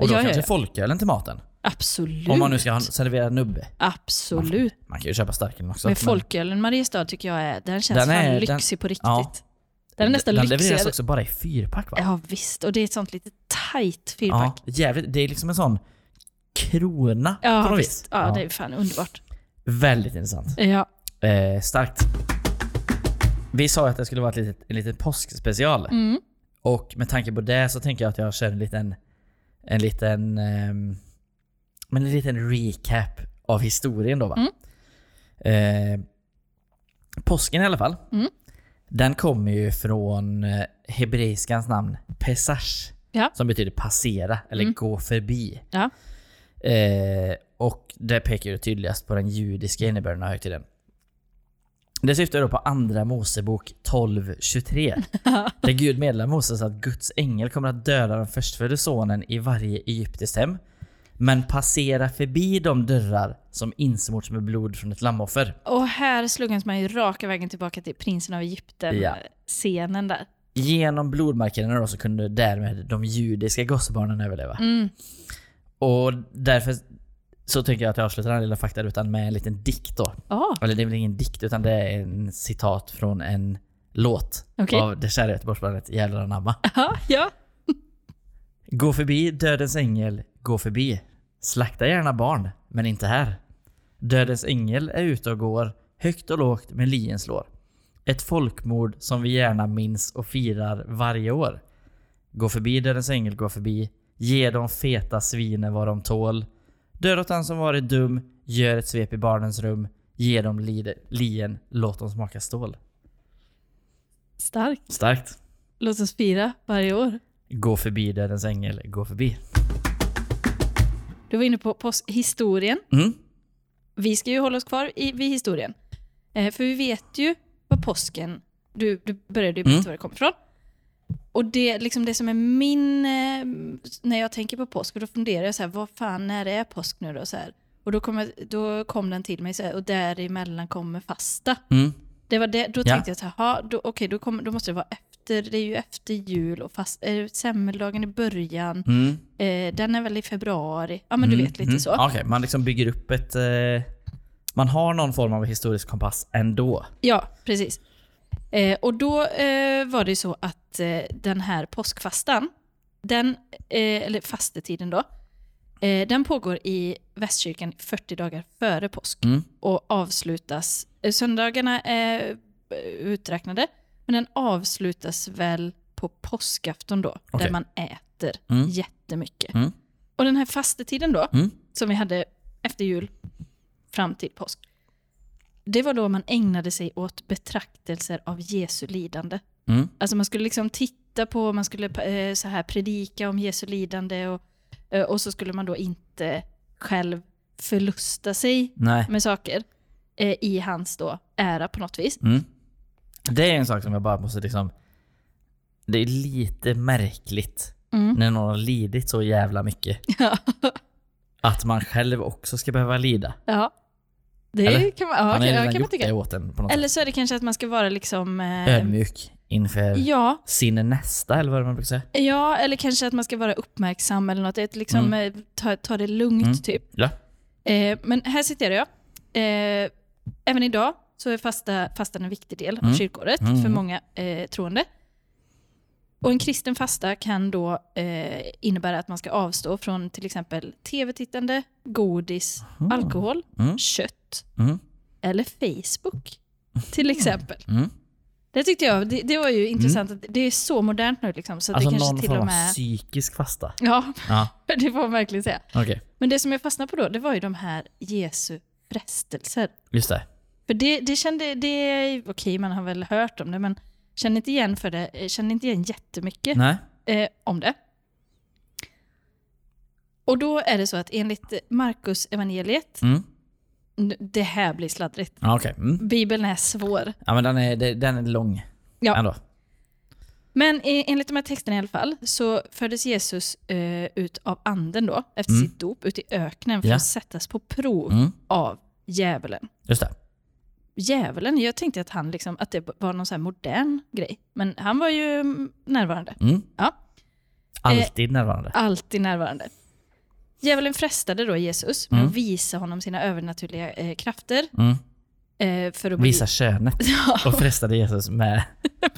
Speaker 1: Och då
Speaker 2: ja,
Speaker 1: kanske
Speaker 2: ja, ja.
Speaker 1: folkölen till maten.
Speaker 2: Absolut.
Speaker 1: Om man nu ska ha- servera nubbe.
Speaker 2: Absolut.
Speaker 1: Man kan ju köpa starkölen också.
Speaker 2: Men
Speaker 1: men-
Speaker 2: folkölen Mariestad tycker jag är, den känns
Speaker 1: Den är-
Speaker 2: fan
Speaker 1: den-
Speaker 2: lyxig på riktigt.
Speaker 1: ja.
Speaker 2: Den är nästan
Speaker 1: den alltså- levereras
Speaker 2: lyxigare.
Speaker 1: också bara i fyrpack va?
Speaker 2: Ja visst, och det är ett sånt lite tight
Speaker 1: Ja,
Speaker 2: fyrpack.
Speaker 1: jävligt. Det är liksom en sån krona
Speaker 2: Ja,
Speaker 1: på något vis.
Speaker 2: visst. Ja, det är fan underbart.
Speaker 1: Väldigt intressant.
Speaker 2: Ja,
Speaker 1: Eh, starkt. Vi sa ju att det skulle vara ett litet, en liten påskspecial.
Speaker 2: mm.
Speaker 1: Och med tanke på det så tänker jag att jag kör en liten... En liten... ehm, men en liten recap av historien då va?
Speaker 2: Mm.
Speaker 1: Eh, påsken i alla fall.
Speaker 2: Mm.
Speaker 1: Den kommer ju från eh, hebreiskans namn pesach.
Speaker 2: Ja.
Speaker 1: Som betyder passera eller
Speaker 2: Mm.
Speaker 1: gå förbi.
Speaker 2: Ja.
Speaker 1: Eh, och det pekar ju tydligast på den judiska innebörden av högtiden. Det syftar då på andra Mosebok 12.23. där Gud meddelar Moses att Guds ängel kommer att döda den förstfödde sonen i varje egyptiskt hem. men passera förbi de dörrar som insmorts med blod från ett lammoffer.
Speaker 2: Och här slungas man ju raka vägen tillbaka till prinsen av Egypten-scenen där.
Speaker 1: Genom blodmarkerna då så kunde därmed de judiska gossebarnen överleva.
Speaker 2: Mm.
Speaker 1: Och därför så tänker jag att jag avslutar den här lilla faktarutan med en liten dikt då.
Speaker 2: Ah,
Speaker 1: Eller det är väl ingen dikt utan det är en citat från en låt
Speaker 2: Okej.
Speaker 1: av det kära Göteborgsbandet Jävlar anamma.
Speaker 2: aha, ja.
Speaker 1: Gå förbi dödens ängel, gå förbi. Slakta gärna barn, men inte här. Dödens ängel är ute och går, högt och lågt med lien slår. Ett folkmord som vi gärna minns och firar varje år. Gå förbi dödens ängel, gå förbi. Ge de feta svinen vad de tål. Död åt han som varit dum, gör ett svep i barnens rum. Ge dem lide- lien, låt dem smaka stål.
Speaker 2: Stark.
Speaker 1: Starkt.
Speaker 2: Låt oss fira varje år.
Speaker 1: Gå förbi dödens ängel, gå förbi.
Speaker 2: Du var inne på, på historien.
Speaker 1: Mm.
Speaker 2: Vi ska ju hålla oss kvar i, vid historien. Eh, för vi vet ju vad påsken... Du, du började ju berätta
Speaker 1: Mm.
Speaker 2: var det kommer ifrån. Och det, liksom det som är min... Eh, när jag tänker på påsk, och då funderar jag så här, vad fan, när är påsk nu då? Så här. Och då, kommer, då kom den till mig så här, och däremellan kommer fasta.
Speaker 1: Mm.
Speaker 2: Det var det, då
Speaker 1: Ja.
Speaker 2: tänkte jag så här, "Ha, då, okej, då, kommer- då måste det vara efter, det är ju efter jul och fast, eh, semmeldagen i början.
Speaker 1: Mm.
Speaker 2: Eh, den är väl i februari. Ja, men du
Speaker 1: Mm,
Speaker 2: vet lite
Speaker 1: mm.
Speaker 2: så.
Speaker 1: Ja, Okej, man liksom bygger upp ett... Eh, man har någon form av historisk kompass ändå.
Speaker 2: Ja, precis. Eh, och då eh, var det ju så att eh, den här påskfastan, den, eh, eller fastetiden då, eh, den pågår i Västkyrkan 40 dagar före påsk
Speaker 1: Mm.
Speaker 2: och avslutas, eh, söndagarna är eh, uträknade, men den avslutas väl på påskafton då,
Speaker 1: Okej.
Speaker 2: där man äter
Speaker 1: Mm.
Speaker 2: jättemycket.
Speaker 1: Mm.
Speaker 2: Och den här fastetiden då,
Speaker 1: Mm.
Speaker 2: som vi hade efter jul fram till påsk, det var då man ägnade sig åt betraktelser av Jesu lidande.
Speaker 1: Mm.
Speaker 2: Alltså man skulle liksom titta på, man skulle eh, så här predika om Jesu lidande och, eh, och så skulle man då inte själv förlusta sig
Speaker 1: Nej.
Speaker 2: med saker eh, i hans då ära på något vis.
Speaker 1: Mm. Det är en sak som jag bara måste liksom... Det är lite märkligt
Speaker 2: Mm.
Speaker 1: när någon har lidit så jävla mycket.
Speaker 2: Ja.
Speaker 1: Att man själv också ska behöva lida.
Speaker 2: Ja, det
Speaker 1: Eller?
Speaker 2: kan man, ja,
Speaker 1: han har ju
Speaker 2: kan, ja,
Speaker 1: redan
Speaker 2: kan man
Speaker 1: gjort det
Speaker 2: tycka.
Speaker 1: åt en på något
Speaker 2: Eller så är det kanske att man ska vara liksom... eh,
Speaker 1: sätt. Ödmjuk inför
Speaker 2: Ja,
Speaker 1: sin nästa, eller vad man brukar säga.
Speaker 2: Ja, eller kanske att man ska vara uppmärksam eller något. Ett, liksom, eh, ta, ta det lugnt
Speaker 1: Mm.
Speaker 2: typ.
Speaker 1: Ja.
Speaker 2: Eh, men här citerar jag. Eh, även idag så är fasta, fastan en viktig del av
Speaker 1: Mm.
Speaker 2: kyrkåret
Speaker 1: Mm.
Speaker 2: för många eh, troende. Och en kristen fasta kan då eh, innebära att man ska avstå från till exempel tv-tittande, godis, alkohol,
Speaker 1: Mm.
Speaker 2: kött
Speaker 1: Mm.
Speaker 2: eller Facebook. Till exempel.
Speaker 1: Mm.
Speaker 2: Det tyckte jag, det, det var ju intressant. att Det är så modernt nu liksom. Så
Speaker 1: Alltså
Speaker 2: det kanske
Speaker 1: någon
Speaker 2: till
Speaker 1: form
Speaker 2: och
Speaker 1: av
Speaker 2: med...
Speaker 1: psykisk fasta.
Speaker 2: Ja,
Speaker 1: Ja,
Speaker 2: det får man verkligen säga.
Speaker 1: okej.
Speaker 2: Men det som jag fastnade på då, det var ju de här Jesu frestelser.
Speaker 1: Just det.
Speaker 2: För det, det kände, det, okej man har väl hört om det, men känner inte igen för det, eh, känner inte igen jättemycket
Speaker 1: Nej.
Speaker 2: eh, om det. Och då är det så att enligt Markus evangeliet,
Speaker 1: Mm.
Speaker 2: n- det här blir sladdrigt.
Speaker 1: Ja, okej. Mm.
Speaker 2: Bibeln är svår.
Speaker 1: Ja men den är, det- den är lång.
Speaker 2: Ja.
Speaker 1: Ändå.
Speaker 2: Men eh, enligt de här texterna i alla fall så fördes Jesus eh, ut av anden då, efter
Speaker 1: Mm.
Speaker 2: sitt dop, ut i öknen för
Speaker 1: Ja.
Speaker 2: att sättas på prov
Speaker 1: Mm.
Speaker 2: av djävulen.
Speaker 1: Just det.
Speaker 2: djävulen, jag tänkte att han liksom, att det var någon så här modern grej. Men han var ju mm, närvarande.
Speaker 1: Mm.
Speaker 2: Ja. Eh,
Speaker 1: Alltid närvarande.
Speaker 2: Alltid närvarande. Djävulen frestade då Jesus med
Speaker 1: Mm.
Speaker 2: att visa honom sina övernaturliga eh, krafter.
Speaker 1: Mm.
Speaker 2: Eh, för att bevi-
Speaker 1: Visa könet och frestade Jesus med...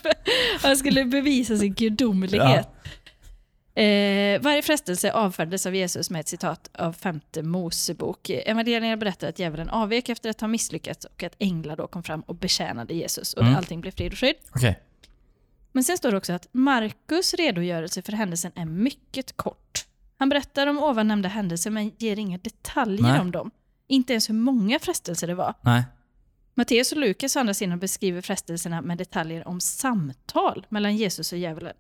Speaker 2: han skulle bevisa sin gudomlighet. Eh, varje frestelse avfärdades av Jesus med ett citat av femte Mosebok. Evangelierna berättar att djävulen avvek efter att ha misslyckats och att änglar då kom fram och betjänade Jesus och
Speaker 1: Mm.
Speaker 2: allting blev frid och fröjd.
Speaker 1: Okej.
Speaker 2: Men sen står det också att Markus redogörelse för händelsen är mycket kort. Han berättar om ovan nämnda händelser men ger inga detaljer
Speaker 1: Nej.
Speaker 2: om dem. Inte ens hur många frestelser det var.
Speaker 1: Nej.
Speaker 2: Matteus och Lukas å andra sidan beskriver frestelserna med detaljer om samtal mellan Jesus och djävulen.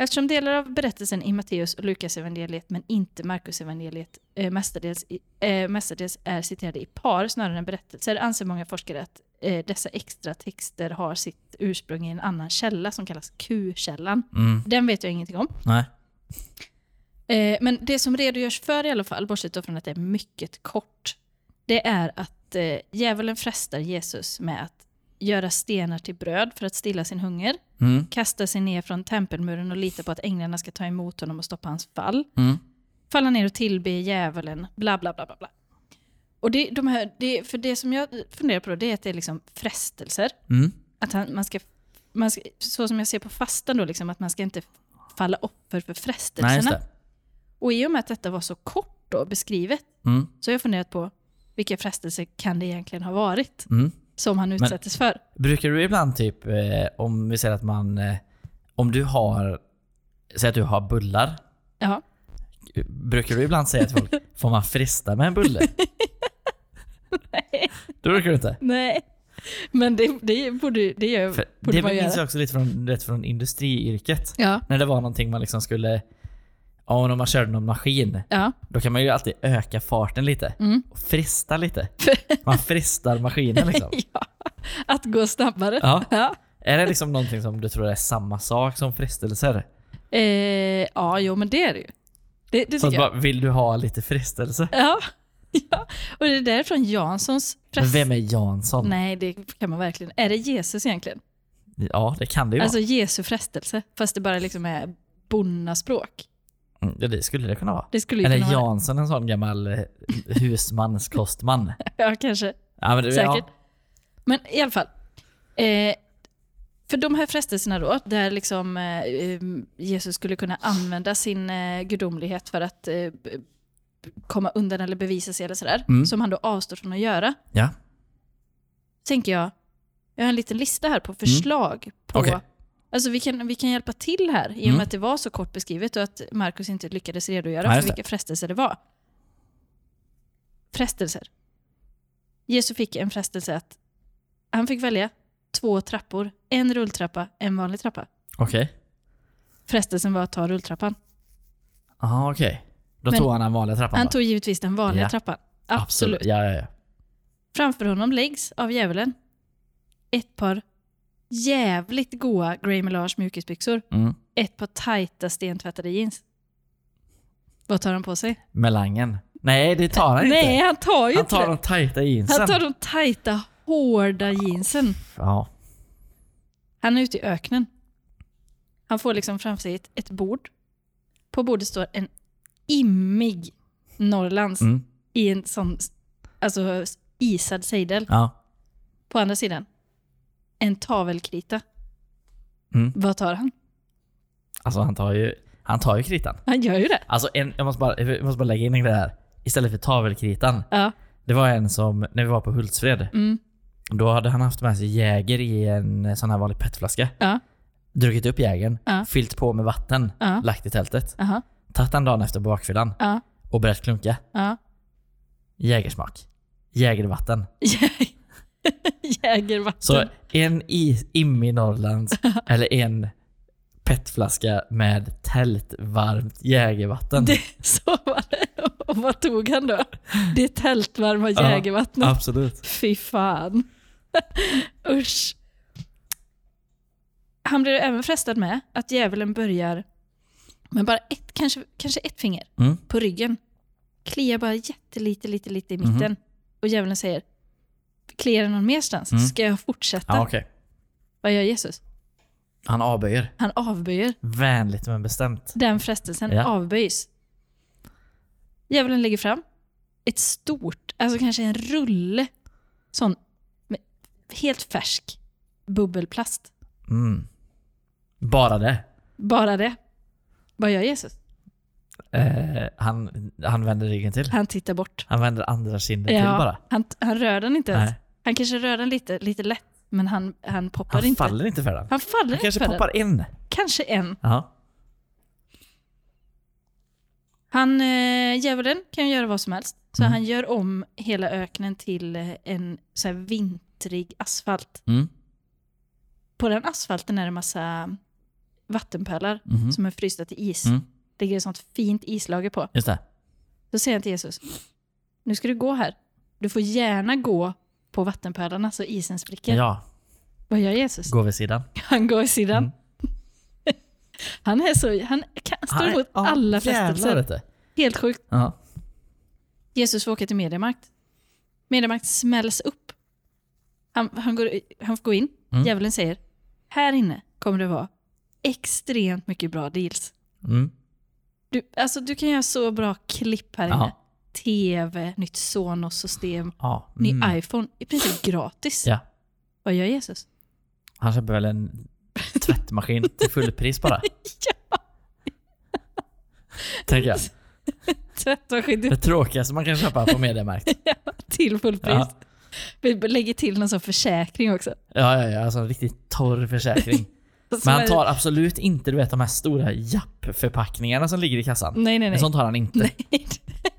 Speaker 2: Eftersom delar av berättelsen i Matteus och Lukas evangeliet men inte Markus evangeliet eh, mestadels, i, eh, mestadels är citerade i par snarare än berättelser anser många forskare att eh, dessa extra texter har sitt ursprung i en annan källa som kallas Q-källan.
Speaker 1: Mm.
Speaker 2: Den vet jag ingenting om.
Speaker 1: Nej.
Speaker 2: Eh, men det som redogörs för i alla fall, bortsett då från att det är mycket kort, det är att eh, djävulen frestar Jesus med att göra stenar till bröd för att stilla sin hunger,
Speaker 1: Mm,
Speaker 2: kasta sig ner från tempelmuren och lita på att änglarna ska ta emot honom och stoppa hans fall,
Speaker 1: mm,
Speaker 2: falla ner och tillbe djävulen, bla bla bla bla. bla. Och det, de här, det, för det som jag funderar på då, det är att det är liksom frestelser
Speaker 1: mm,
Speaker 2: att han, man, ska, man ska, så som jag ser på fastan då, liksom, att man ska inte falla offer för
Speaker 1: nej
Speaker 2: frestelserna.
Speaker 1: just det.
Speaker 2: och i och med att detta var så kort då, beskrivet,
Speaker 1: Mm,
Speaker 2: så har jag funderat på vilka frestelser kan det egentligen ha varit
Speaker 1: mm.
Speaker 2: som han utsattes för?
Speaker 1: Brukar du ibland typ, eh, om vi säger att man, eh, om du har, säg att du har bullar.
Speaker 2: Ja.
Speaker 1: Brukar du ibland säga till folk, får man frista med en bulle?
Speaker 2: Nej.
Speaker 1: Det brukar du inte.
Speaker 2: Nej. Men det, det, borde, det gör,
Speaker 1: För
Speaker 2: borde
Speaker 1: det
Speaker 2: man göra.
Speaker 1: minns jag också lite från, rätt från industriyrket.
Speaker 2: Ja.
Speaker 1: När det var någonting man liksom skulle, ja men om man körde någon maskin,
Speaker 2: Ja.
Speaker 1: då kan man ju alltid öka farten lite.
Speaker 2: Mm.
Speaker 1: Och frista lite. Man fristar maskinen liksom.
Speaker 2: ja. Att gå snabbare.
Speaker 1: Ja.
Speaker 2: Ja.
Speaker 1: Är det liksom någonting som du tror är samma sak som frestelser?
Speaker 2: Eh, ja, jo men det är det ju. Det, det
Speaker 1: Så
Speaker 2: tycker
Speaker 1: att
Speaker 2: jag.
Speaker 1: bara, vill du ha lite frestelse?
Speaker 2: Ja. ja. Och det där är från Janssons
Speaker 1: Men
Speaker 2: press.
Speaker 1: vem är Jansson?
Speaker 2: Nej, det kan man verkligen. Är det Jesus egentligen?
Speaker 1: Ja, det kan det ju
Speaker 2: Alltså Jesu frestelse, fast det bara liksom är bonnaspråk.
Speaker 1: vara. Mm, Ja, det skulle det kunna vara.
Speaker 2: Alltså- Det skulle ju
Speaker 1: Eller
Speaker 2: kunna vara
Speaker 1: Jansson, en sån gammal eh, husmanskostman.
Speaker 2: det. Ja, kanske.
Speaker 1: Ja, men, det-
Speaker 2: Säkert.
Speaker 1: Ja,
Speaker 2: Men i alla fall. Eh, för de här frestelserna då, där liksom eh, eh, Jesus skulle kunna använda sin eh, gudomlighet för att eh, b- b- komma undan eller bevisa sig eller sådär,
Speaker 1: Mm.
Speaker 2: som han då avstår från att göra,
Speaker 1: ja.
Speaker 2: tänker jag, jag har en liten lista här på förslag på
Speaker 1: Mm. Okej. Mm.
Speaker 2: Alltså vi kan, vi kan hjälpa till här, i och med att det var så kort beskrivet och att Markus inte lyckades redogöra
Speaker 1: Nej,
Speaker 2: för
Speaker 1: just det.
Speaker 2: vilka frestelser det var. Frestelser. Jesus fick en frestelse att han fick välja två trappor. En rulltrappa, en vanlig trappa.
Speaker 1: okej.
Speaker 2: Frestelsen var att ta rulltrappan.
Speaker 1: Ja, okej. Då
Speaker 2: Men-
Speaker 1: tog han den vanliga trappan
Speaker 2: Han
Speaker 1: då?
Speaker 2: tog givetvis den vanliga
Speaker 1: Ja.
Speaker 2: trappan. Absolut.
Speaker 1: Ja, ja, ja.
Speaker 2: Framför honom läggs av djävulen ett par jävligt goa Grey Melage mjukisbyxor.
Speaker 1: Mm.
Speaker 2: Ett par tajta stentvättade jeans. Vad tar han på sig?
Speaker 1: Melangen. Nej, det tar han inte.
Speaker 2: Nej, han tar ju
Speaker 1: han
Speaker 2: inte
Speaker 1: tar
Speaker 2: det.
Speaker 1: de tajta jeansen.
Speaker 2: Han tar de tajta, hårda jeansen.
Speaker 1: Ja.
Speaker 2: Han är ute i öknen. Han får liksom framför sig ett, ett bord. På bordet står en immig Norrlands
Speaker 1: Mm.
Speaker 2: i en sån alltså, isad sejdel.
Speaker 1: ja.
Speaker 2: På andra sidan, en tavelkrita.
Speaker 1: Mm.
Speaker 2: Vad tar han?
Speaker 1: Alltså han tar ju, han tar ju kritan.
Speaker 2: Han gör ju det.
Speaker 1: Alltså en, jag, måste bara, jag måste bara lägga in en grej här. Istället för tavelkritan.
Speaker 2: Ja.
Speaker 1: Det var en som, när vi var på Hultsfred.
Speaker 2: Mm.
Speaker 1: Då hade han haft med sig Jäger i en sån här vanlig petflaska.
Speaker 2: Ja.
Speaker 1: Druckit upp Jägern,
Speaker 2: Ja.
Speaker 1: fyllt på med vatten,
Speaker 2: Ja.
Speaker 1: lagt i tältet.
Speaker 2: Aha.
Speaker 1: Tagit den dagen efter på bakfyllan
Speaker 2: Ja.
Speaker 1: och börjat klunka.
Speaker 2: Ja.
Speaker 1: Jägersmak. Jägervatten.
Speaker 2: Jä- Jägervatten.
Speaker 1: Så en is, immig Norrlands eller en petflaska med tältvarmt jägervatten.
Speaker 2: Det, så var det. Och vad tog han då? Det tältvarma
Speaker 1: Ja,
Speaker 2: jägervattnet.
Speaker 1: Absolut.
Speaker 2: Fy fan. Usch. Han blir även frestad med att djävulen börjar med bara ett, kanske, kanske ett finger
Speaker 1: Mm.
Speaker 2: på ryggen. Kliar bara jättelite, lite, lite i
Speaker 1: Mhm.
Speaker 2: mitten. Och djävulen säger, kliar det någon merstans?
Speaker 1: Mm.
Speaker 2: Ska jag fortsätta?
Speaker 1: Ja, okej.
Speaker 2: Vad gör Jesus?
Speaker 1: Han avböjer.
Speaker 2: Han avböjer.
Speaker 1: Vänligt men bestämt.
Speaker 2: Den frestelsen
Speaker 1: Ja.
Speaker 2: avböjs. Djävulen lägger fram ett stort, alltså kanske en rulle, sån med helt färsk bubbelplast.
Speaker 1: Mm. Bara det.
Speaker 2: Bara det. Vad gör Jesus?
Speaker 1: Eh, han, han vänder ryggen till.
Speaker 2: Han tittar bort.
Speaker 1: Han vänder andra kinden till bara.
Speaker 2: han, han rör den inte ens.
Speaker 1: Nej.
Speaker 2: Han kanske rör den lite, lite lätt, men han, han poppar
Speaker 1: Han
Speaker 2: inte.
Speaker 1: faller inte för den.
Speaker 2: Han faller
Speaker 1: Han
Speaker 2: inte
Speaker 1: kanske
Speaker 2: för den.
Speaker 1: poppar in.
Speaker 2: Kanske en.
Speaker 1: Ja.
Speaker 2: Han, eh, djävulen kan ju göra vad som helst. Så
Speaker 1: Mm.
Speaker 2: han gör om hela öknen till eh, en så här vintrig asfalt.
Speaker 1: Mm.
Speaker 2: på den asfalten är det massa vattenpölar
Speaker 1: Mhm.
Speaker 2: som är frysta till is.
Speaker 1: Mm.
Speaker 2: Det ligger ett sånt fint islager på.
Speaker 1: Just det.
Speaker 2: Då säger han till Jesus, nu ska du gå här. Du får gärna gå på vattenpölarna så isen spricker.
Speaker 1: Ja,
Speaker 2: Vad gör Jesus?
Speaker 1: gå vid sidan.
Speaker 2: Han går i sidan. Han, är så, han kan, står
Speaker 1: Nej,
Speaker 2: emot
Speaker 1: ja,
Speaker 2: alla
Speaker 1: jävlar
Speaker 2: frestelser.
Speaker 1: vet du.
Speaker 2: Helt sjukt.
Speaker 1: Ja.
Speaker 2: Jesus får åka till Mediamarkt. Mediamarkt smälls upp. Han, han, går, han får gå in.
Speaker 1: Mm.
Speaker 2: Djävulen säger, här inne kommer det vara extremt mycket bra deals.
Speaker 1: Mm.
Speaker 2: Du, alltså, du kan göra så bra klipp här inne.
Speaker 1: Ja.
Speaker 2: TV, nytt Sonos-system,
Speaker 1: Ja.
Speaker 2: ny
Speaker 1: Mm.
Speaker 2: iPhone. I princip gratis.
Speaker 1: Ja.
Speaker 2: Vad gör Jesus?
Speaker 1: Han köper väl en tvättmaskin till fullpris bara. Tänker jag.
Speaker 2: Tvättmaskin
Speaker 1: Det tråkigaste man kan köpa på Mediamarkt.
Speaker 2: till fullpris.
Speaker 1: Ja.
Speaker 2: Vi lägger till någon sån försäkring också.
Speaker 1: Ja, ja, ja. Alltså en riktigt torr försäkring.
Speaker 2: Som
Speaker 1: Men han
Speaker 2: är-
Speaker 1: tar absolut inte du vet, de här stora japp-förpackningarna som ligger i kassan.
Speaker 2: Nej, Mm, nej,
Speaker 1: En
Speaker 2: nej.
Speaker 1: sån tar han inte.
Speaker 2: nej.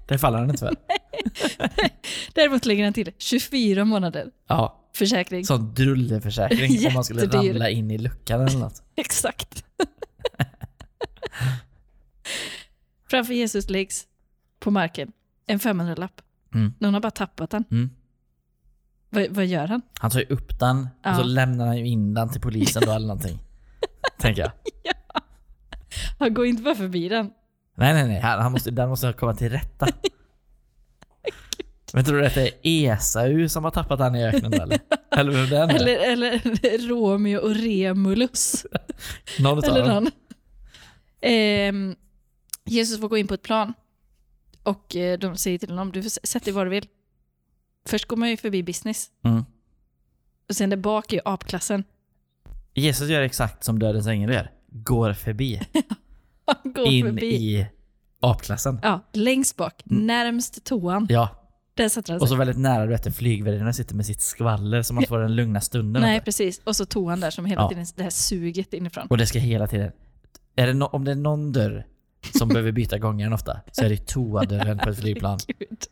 Speaker 1: Det faller han inte för.
Speaker 2: Däremot lägger han till 24 månader
Speaker 1: Ja,
Speaker 2: försäkring.
Speaker 1: sån drulleförsäkring om man skulle
Speaker 2: Jättedyr.
Speaker 1: ramla in i luckan eller något.
Speaker 2: Exakt. Framför Jesus läggs på marken en 500-lapp.
Speaker 1: Mm.
Speaker 2: Någon har bara tappat den.
Speaker 1: Mm.
Speaker 2: Vad, vad gör han?
Speaker 1: Han tar ju upp den och så
Speaker 2: Ja.
Speaker 1: lämnar han ju in den till polisen då eller någonting. Tänker jag.
Speaker 2: Han går inte bara förbi den.
Speaker 1: Nej, nej, nej. Han han måste, den måste komma till rätta. Men tror du att det är Esau som har tappat han i öknen då, eller? Eller vem det är nu?
Speaker 2: Eller, eller Romeo och Remulus.
Speaker 1: Någon utav
Speaker 2: Eller
Speaker 1: dem.
Speaker 2: någon. Ehm, Jesus får gå in på ett plan. Och eh, de säger till honom, du får s- sätt dig var du vill. Först går man ju förbi business.
Speaker 1: Mm.
Speaker 2: Och sen där bak är ju apklassen.
Speaker 1: Jesus gör exakt som dödens ängel gör. Går förbi.
Speaker 2: Han går
Speaker 1: in
Speaker 2: förbi.
Speaker 1: i apklassen.
Speaker 2: Ja, längst bak. Närmst toan.
Speaker 1: Ja,
Speaker 2: Där satte han
Speaker 1: och
Speaker 2: sig.
Speaker 1: så väldigt nära du vet en flygvärdinna sitter med sitt skvaller så man får den lugna stunden.
Speaker 2: Nej, precis. Och så toan där som hela
Speaker 1: Ja.
Speaker 2: tiden, det här suget inifrån.
Speaker 1: Och det ska hela tiden... Är det no, om det är någon dörr som behöver byta gångaren ofta så är det toadörren på ett flygplan.
Speaker 2: Gud.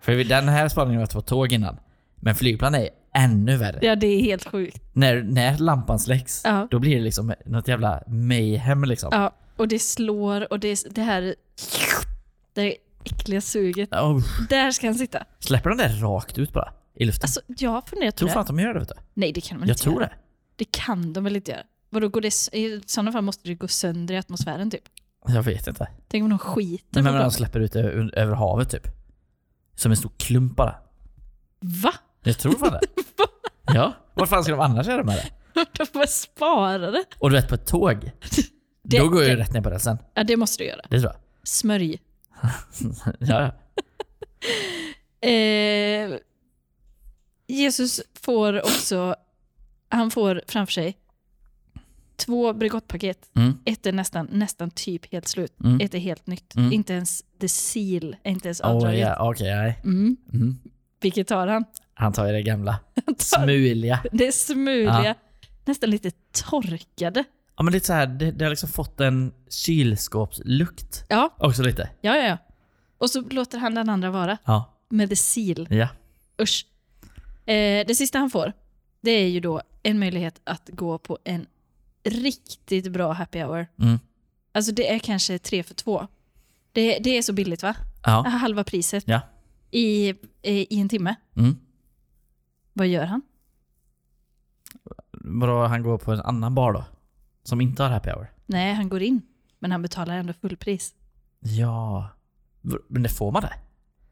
Speaker 1: För vid den här spaningen var det två tåg innan. Men flygplan är ännu värre.
Speaker 2: Ja, det är helt sjukt.
Speaker 1: När, när lampan släcks,
Speaker 2: Ja.
Speaker 1: då blir det liksom något jävla mayhem liksom.
Speaker 2: Ja, och det slår och det, är s- det här... Det äckliga suget.
Speaker 1: Oh,
Speaker 2: Där ska han sitta.
Speaker 1: släpper de det rakt ut bara? I luften?
Speaker 2: Alltså, jag har funderat på
Speaker 1: tror
Speaker 2: det.
Speaker 1: fan att de gör det vet du.
Speaker 2: Nej, det kan de
Speaker 1: Jag
Speaker 2: inte
Speaker 1: tror
Speaker 2: göra.
Speaker 1: det.
Speaker 2: Det kan de väl inte göra? Vadå, går det, s- I sådana fall måste det gå sönder i atmosfären typ.
Speaker 1: Jag vet inte.
Speaker 2: Tänk om de skiter
Speaker 1: Men
Speaker 2: på
Speaker 1: när de
Speaker 2: planet.
Speaker 1: släpper ut det ö- över havet typ. Som en stor klump bara.
Speaker 2: Va?
Speaker 1: Jag tror fan det. ja. Vad fan ska de annars göra med det?
Speaker 2: De bara sparar det.
Speaker 1: Och du vet på ett tåg. då går jag ju rätt ner på rälsen.
Speaker 2: Ja, det måste du göra.
Speaker 1: Det tror jag.
Speaker 2: Smörj.
Speaker 1: ja, ja.
Speaker 2: Eh, Jesus får också, han får framför sig två Bregottpaket.
Speaker 1: Mm.
Speaker 2: Ett är nästan, nästan typ helt slut.
Speaker 1: Mm.
Speaker 2: Ett är helt nytt.
Speaker 1: Mm.
Speaker 2: Inte ens the seal är inte ens
Speaker 1: Oh,
Speaker 2: avdraget.
Speaker 1: ja. Okej, nej.
Speaker 2: mm.
Speaker 1: Mm.
Speaker 2: Vilket tar han?
Speaker 1: Han tar ju det gamla.
Speaker 2: han tar
Speaker 1: Smuliga.
Speaker 2: det smuliga,
Speaker 1: Ja.
Speaker 2: nästan lite torkade.
Speaker 1: Ja men lite så här, det, det har liksom fått en kylskåpslukt.
Speaker 2: Ja,
Speaker 1: Också lite.
Speaker 2: Ja, ja, ja. Och så låter han den andra vara.
Speaker 1: Ja.
Speaker 2: Med the seal.
Speaker 1: Ja.
Speaker 2: Usch. Eh, det sista han får, det är ju då en möjlighet att gå på en riktigt bra happy hour.
Speaker 1: Mm.
Speaker 2: Alltså det är kanske tre för två. Det, det är så billigt va?
Speaker 1: Ja.
Speaker 2: Halva priset
Speaker 1: Ja.
Speaker 2: i, eh, i en timme.
Speaker 1: Mm.
Speaker 2: Vad gör han?
Speaker 1: Vadå, han går på en annan bar då? Som inte har happy hour?
Speaker 2: Nej, han går in. Men han betalar ändå fullpris.
Speaker 1: Ja. V- Men det får man det?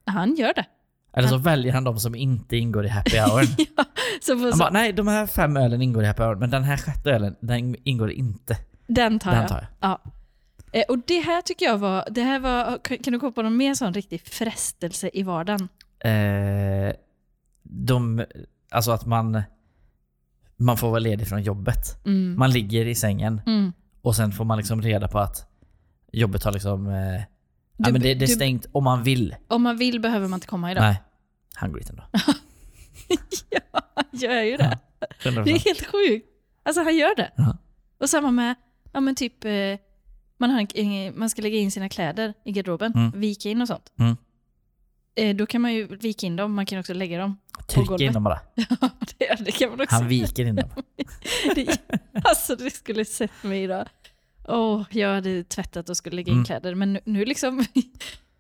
Speaker 2: Han gör det.
Speaker 1: Eller så väljer han de som inte ingår i happy hour.
Speaker 2: Så,
Speaker 1: Han
Speaker 2: så,
Speaker 1: bara, nej de här fem ölen ingår i happy hour, men den här sjätte ölen, den ingår inte.
Speaker 2: den tar
Speaker 1: Den
Speaker 2: jag.
Speaker 1: tar jag.
Speaker 2: Ja. Eh, Och det här tycker jag var, det här var, kan- kan du komma på någon mer sån riktig frestelse i vardagen?
Speaker 1: Eh, de, alltså att man, man får vara ledig från jobbet.
Speaker 2: Mm.
Speaker 1: Man ligger i sängen
Speaker 2: Mm.
Speaker 1: och sen får man liksom reda på att jobbet har liksom, eh, ja,
Speaker 2: Du-
Speaker 1: men det, det är
Speaker 2: du-
Speaker 1: stängt om man vill.
Speaker 2: Om man vill behöver man inte komma idag.
Speaker 1: Nej, han går dit ändå.
Speaker 2: Gör jag ju det. Det är
Speaker 1: 100%.
Speaker 2: helt sjukt. Alltså han gör det.
Speaker 1: Ja.
Speaker 2: Och samma med, ja men typ, eh, man, har en, en- man ska lägga in sina kläder i garderoben,
Speaker 1: Mm.
Speaker 2: vika in och sånt.
Speaker 1: Mm.
Speaker 2: Eh, Då kan man ju vika in dem, man kan också lägga dem.
Speaker 1: Tryck in
Speaker 2: golvet.
Speaker 1: dem bara.
Speaker 2: det, det kan man också.
Speaker 1: Han viker in dem.
Speaker 2: Det, alltså det skulle sett mig idag. Åh, jag hade tvättat och skulle lägga in
Speaker 1: Mm.
Speaker 2: kläder. Men nu, nu liksom,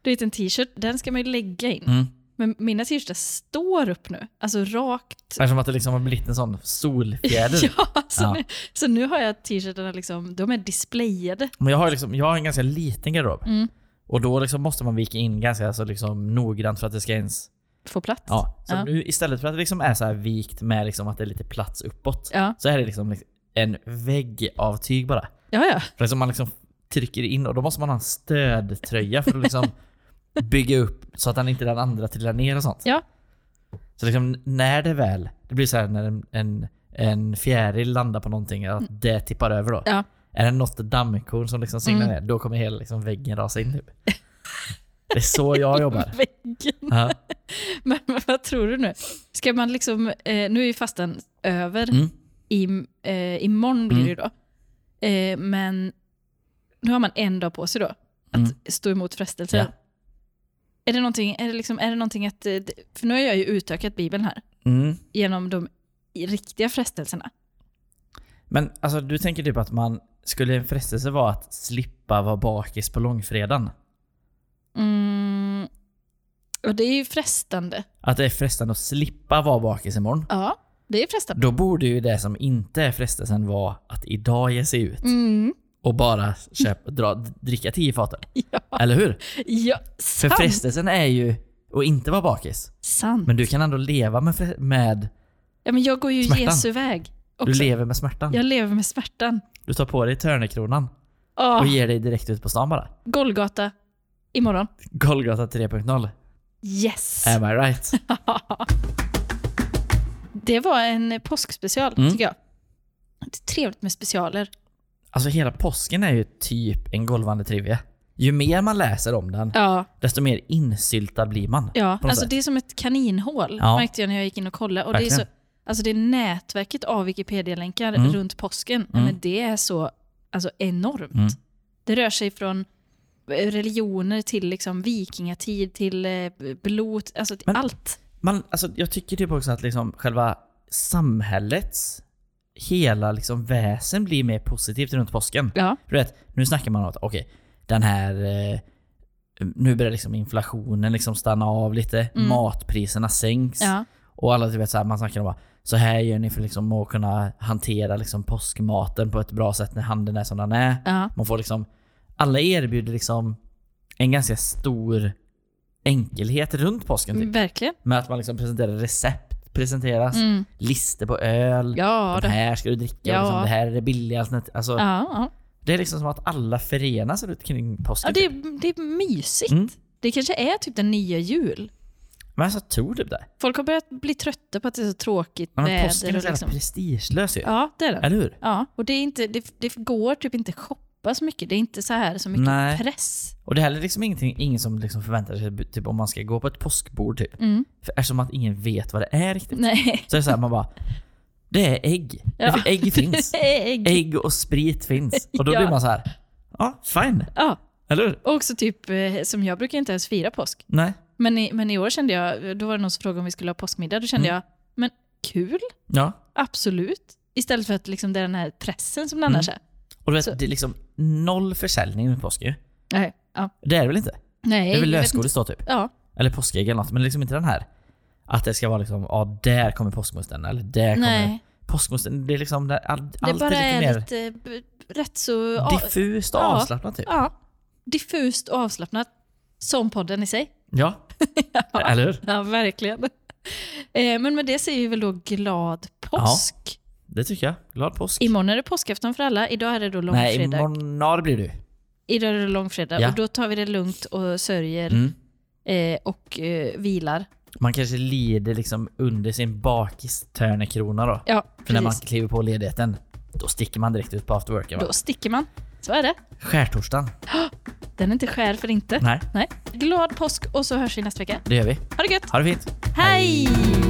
Speaker 2: du vet en t-shirt, den ska man ju lägga in.
Speaker 1: Mm.
Speaker 2: Men mina t-shirtar står upp nu. Alltså rakt.
Speaker 1: Eftersom att det liksom har blivit en sån solfjäder.
Speaker 2: Ja, så,
Speaker 1: Ja.
Speaker 2: Nu, så nu har jag t-shirtarna liksom, de är displayade.
Speaker 1: Men jag har, liksom, jag har en ganska liten garderob.
Speaker 2: Mm.
Speaker 1: Och då liksom måste man vika in ganska så liksom noggrant för att det ska ens...
Speaker 2: Få plats.
Speaker 1: Ja. Så
Speaker 2: Ja.
Speaker 1: Nu, istället för att det liksom är så här vikt med liksom att det är lite plats uppåt.
Speaker 2: Ja,
Speaker 1: Så är det liksom en vägg av tyg bara.
Speaker 2: ja. ja.
Speaker 1: För liksom man liksom trycker in och då måste man ha en stödtröja för att liksom bygga upp så att den inte den andra trillar ner och sånt.
Speaker 2: Ja.
Speaker 1: Så liksom när det väl, det blir så här när en, en, en fjäril landar på någonting, att det tippar över då.
Speaker 2: Mm. Ja. Mm.
Speaker 1: Är det något dammkorn som liksom singlar ner, då kommer hela liksom väggen rasa in typ. Det är så jag jobbar.
Speaker 2: Väggen.
Speaker 1: Ja.
Speaker 2: Men, men vad tror du nu? Ska man liksom, eh, nu är ju fastan över.
Speaker 1: Mm.
Speaker 2: I, eh, imorgon blir det ju
Speaker 1: Mm.
Speaker 2: då. Eh, men nu har man en dag på sig då. Att
Speaker 1: Mm.
Speaker 2: stå emot frestelser.
Speaker 1: Ja.
Speaker 2: Är, det någonting, är, det liksom, är det någonting att... eh, d- För nu har jag ju utökat Bibeln här.
Speaker 1: Mm.
Speaker 2: Genom de i- riktiga frestelserna.
Speaker 1: Men alltså du tänker typ att man, skulle en frestelse vara att slippa vara bakis på långfredagen?
Speaker 2: Mm. Och det är ju frestande.
Speaker 1: Att det är frestande att slippa vara bakis imorgon?
Speaker 2: Ja, det är frestande.
Speaker 1: Då borde ju det som inte är frestelsen vara att idag ge sig ut
Speaker 2: Mm.
Speaker 1: och bara köpa, dra, dricka tio fatöl.
Speaker 2: Ja,
Speaker 1: Eller hur?
Speaker 2: ja
Speaker 1: För
Speaker 2: sant.
Speaker 1: frestelsen är ju att inte vara bakis.
Speaker 2: sant.
Speaker 1: Men du kan ändå leva med, fre- med
Speaker 2: ja, men jag går ju
Speaker 1: Smärtan.
Speaker 2: Jesu väg.
Speaker 1: du
Speaker 2: Också.
Speaker 1: lever med smärtan.
Speaker 2: Jag lever med smärtan.
Speaker 1: Du tar på dig Törnekronan
Speaker 2: Oh,
Speaker 1: och ger dig direkt ut på stan bara.
Speaker 2: Golgata imorgon.
Speaker 1: Golgata 3.0.
Speaker 2: Yes!
Speaker 1: Am I right?
Speaker 2: Det var en påskspecial,
Speaker 1: Mm.
Speaker 2: tycker jag. Det är trevligt med specialer.
Speaker 1: Alltså hela påsken är ju typ en golvande trivia. Ju mer man läser om den,
Speaker 2: Ja,
Speaker 1: desto mer insyltad blir man.
Speaker 2: ja.
Speaker 1: något
Speaker 2: Alltså,
Speaker 1: sätt.
Speaker 2: det är som ett kaninhål,
Speaker 1: Ja.
Speaker 2: märkte jag när jag gick in och kollade. Och det, är så,
Speaker 1: Verkligen.
Speaker 2: alltså, det är nätverket av Wikipedia-länkar
Speaker 1: Mm.
Speaker 2: runt påsken. Nej,
Speaker 1: Mm.
Speaker 2: Men det är så alltså, enormt.
Speaker 1: Mm.
Speaker 2: Det rör sig från eh, religioner till liksom, vikingatid, till eh, blot, alltså till
Speaker 1: Men-
Speaker 2: allt.
Speaker 1: Man, alltså, jag tycker typ också att liksom själva samhällets hela liksom väsen blir mer positivt runt påsken.
Speaker 2: Ja.
Speaker 1: Du vet, nu snackar man om att okej, den här... Eh, nu börjar liksom inflationen liksom stanna av lite,
Speaker 2: Mm.
Speaker 1: matpriserna sänks
Speaker 2: ja.
Speaker 1: och alla du vet så här, man snackar om bara, så här gör ni för liksom att kunna hantera liksom påskmaten på ett bra sätt när handeln är som den är.
Speaker 2: ja.
Speaker 1: Man får liksom, alla erbjuder liksom en ganska stor enkelhet runt påsken. Typ.
Speaker 2: Mm, Verkligen.
Speaker 1: Med att man liksom presenterar recept, presenteras
Speaker 2: Mm.
Speaker 1: lister på öl.
Speaker 2: Ja,
Speaker 1: den
Speaker 2: det.
Speaker 1: alltså, här ska du dricka,
Speaker 2: Ja.
Speaker 1: och liksom, det här är det billiga alternativet. Alltså,
Speaker 2: Ja, ja.
Speaker 1: Det är liksom som att alla förenas runt kring påsken.
Speaker 2: Ja, det,
Speaker 1: typ.
Speaker 2: är, det är mysigt.
Speaker 1: Mm.
Speaker 2: Det kanske är typ den nya jul.
Speaker 1: Men alltså, jag tror typ det.
Speaker 2: Folk har börjat bli trötta på att det är så tråkigt
Speaker 1: Ja, Men påsken
Speaker 2: väder.
Speaker 1: är
Speaker 2: Och
Speaker 1: så jävla
Speaker 2: liksom.
Speaker 1: prestigelös ju.
Speaker 2: Ja, det är den.
Speaker 1: Eller hur?
Speaker 2: Ja, och det, är inte, det, det går typ inte shoppa så mycket. Det är inte så här så mycket
Speaker 1: Nej.
Speaker 2: press.
Speaker 1: Och det är heller liksom ingenting, ingen som liksom förväntar sig typ, om man ska gå på ett påskbord. Typ.
Speaker 2: Mm.
Speaker 1: För eftersom att ingen vet vad det är riktigt.
Speaker 2: Nej.
Speaker 1: Så är det så här, man bara... Det är ägg.
Speaker 2: Ja.
Speaker 1: Det- Ägg finns.
Speaker 2: Ägg.
Speaker 1: Ägg och sprit finns. Och då
Speaker 2: Ja.
Speaker 1: blir man så här... Ja, fine.
Speaker 2: Ja,
Speaker 1: Eller hur?
Speaker 2: och också typ eh, som jag brukar inte ens fira påsk.
Speaker 1: Nej.
Speaker 2: Men i, men i år kände jag, då var det någon som frågade om vi skulle ha påskmiddag. Då kände
Speaker 1: Mm.
Speaker 2: jag, men kul,
Speaker 1: Ja.
Speaker 2: absolut. Istället för att liksom det är den här pressen som det
Speaker 1: Mm.
Speaker 2: annars är.
Speaker 1: Och du
Speaker 2: Så-
Speaker 1: vet, det är liksom noll försäljning runt påsk ju.
Speaker 2: Nej. Ja.
Speaker 1: Det är det väl inte?
Speaker 2: Nej,
Speaker 1: Det är väl
Speaker 2: jag vet
Speaker 1: lösgodis då typ?
Speaker 2: inte. Ja,
Speaker 1: Eller påskägg eller något, men liksom inte den här. Att det ska vara liksom, ja där kommer påskmusten eller där kommer...
Speaker 2: nej.
Speaker 1: Påskmusten, det är liksom, där, all,
Speaker 2: Det
Speaker 1: allt
Speaker 2: bara
Speaker 1: är
Speaker 2: är
Speaker 1: lite mer
Speaker 2: lite b- rätt så a-
Speaker 1: diffust och
Speaker 2: ja.
Speaker 1: avslappnat typ.
Speaker 2: ja, diffust och avslappnat. Som podden i sig.
Speaker 1: Ja. Eller hur?
Speaker 2: Ja, verkligen. Eh, Men med det säger vi väl då glad påsk.
Speaker 1: Det tycker jag. Glad påsk.
Speaker 2: Imorgon är det påskafton för alla. Idag är det då långfredag.
Speaker 1: Nej, imorgon när blir du.
Speaker 2: Idag är det långfredag
Speaker 1: Ja.
Speaker 2: och då tar vi det lugnt och sörjer
Speaker 1: Mm.
Speaker 2: eh, och eh, vilar.
Speaker 1: Man kanske lider liksom under sin bakistörnekrona då.
Speaker 2: Ja,
Speaker 1: För när man
Speaker 2: precis.
Speaker 1: kliver på ledigheten, då sticker man direkt ut på afterworken va?
Speaker 2: Då sticker man. Så är det.
Speaker 1: Skärtorsdagen.
Speaker 2: Den är inte skär för inte.
Speaker 1: Nej,
Speaker 2: Nej. Glad påsk och så hörs vi nästa vecka.
Speaker 1: det gör vi.
Speaker 2: Ha det gött.
Speaker 1: Ha det fint.
Speaker 2: Hej!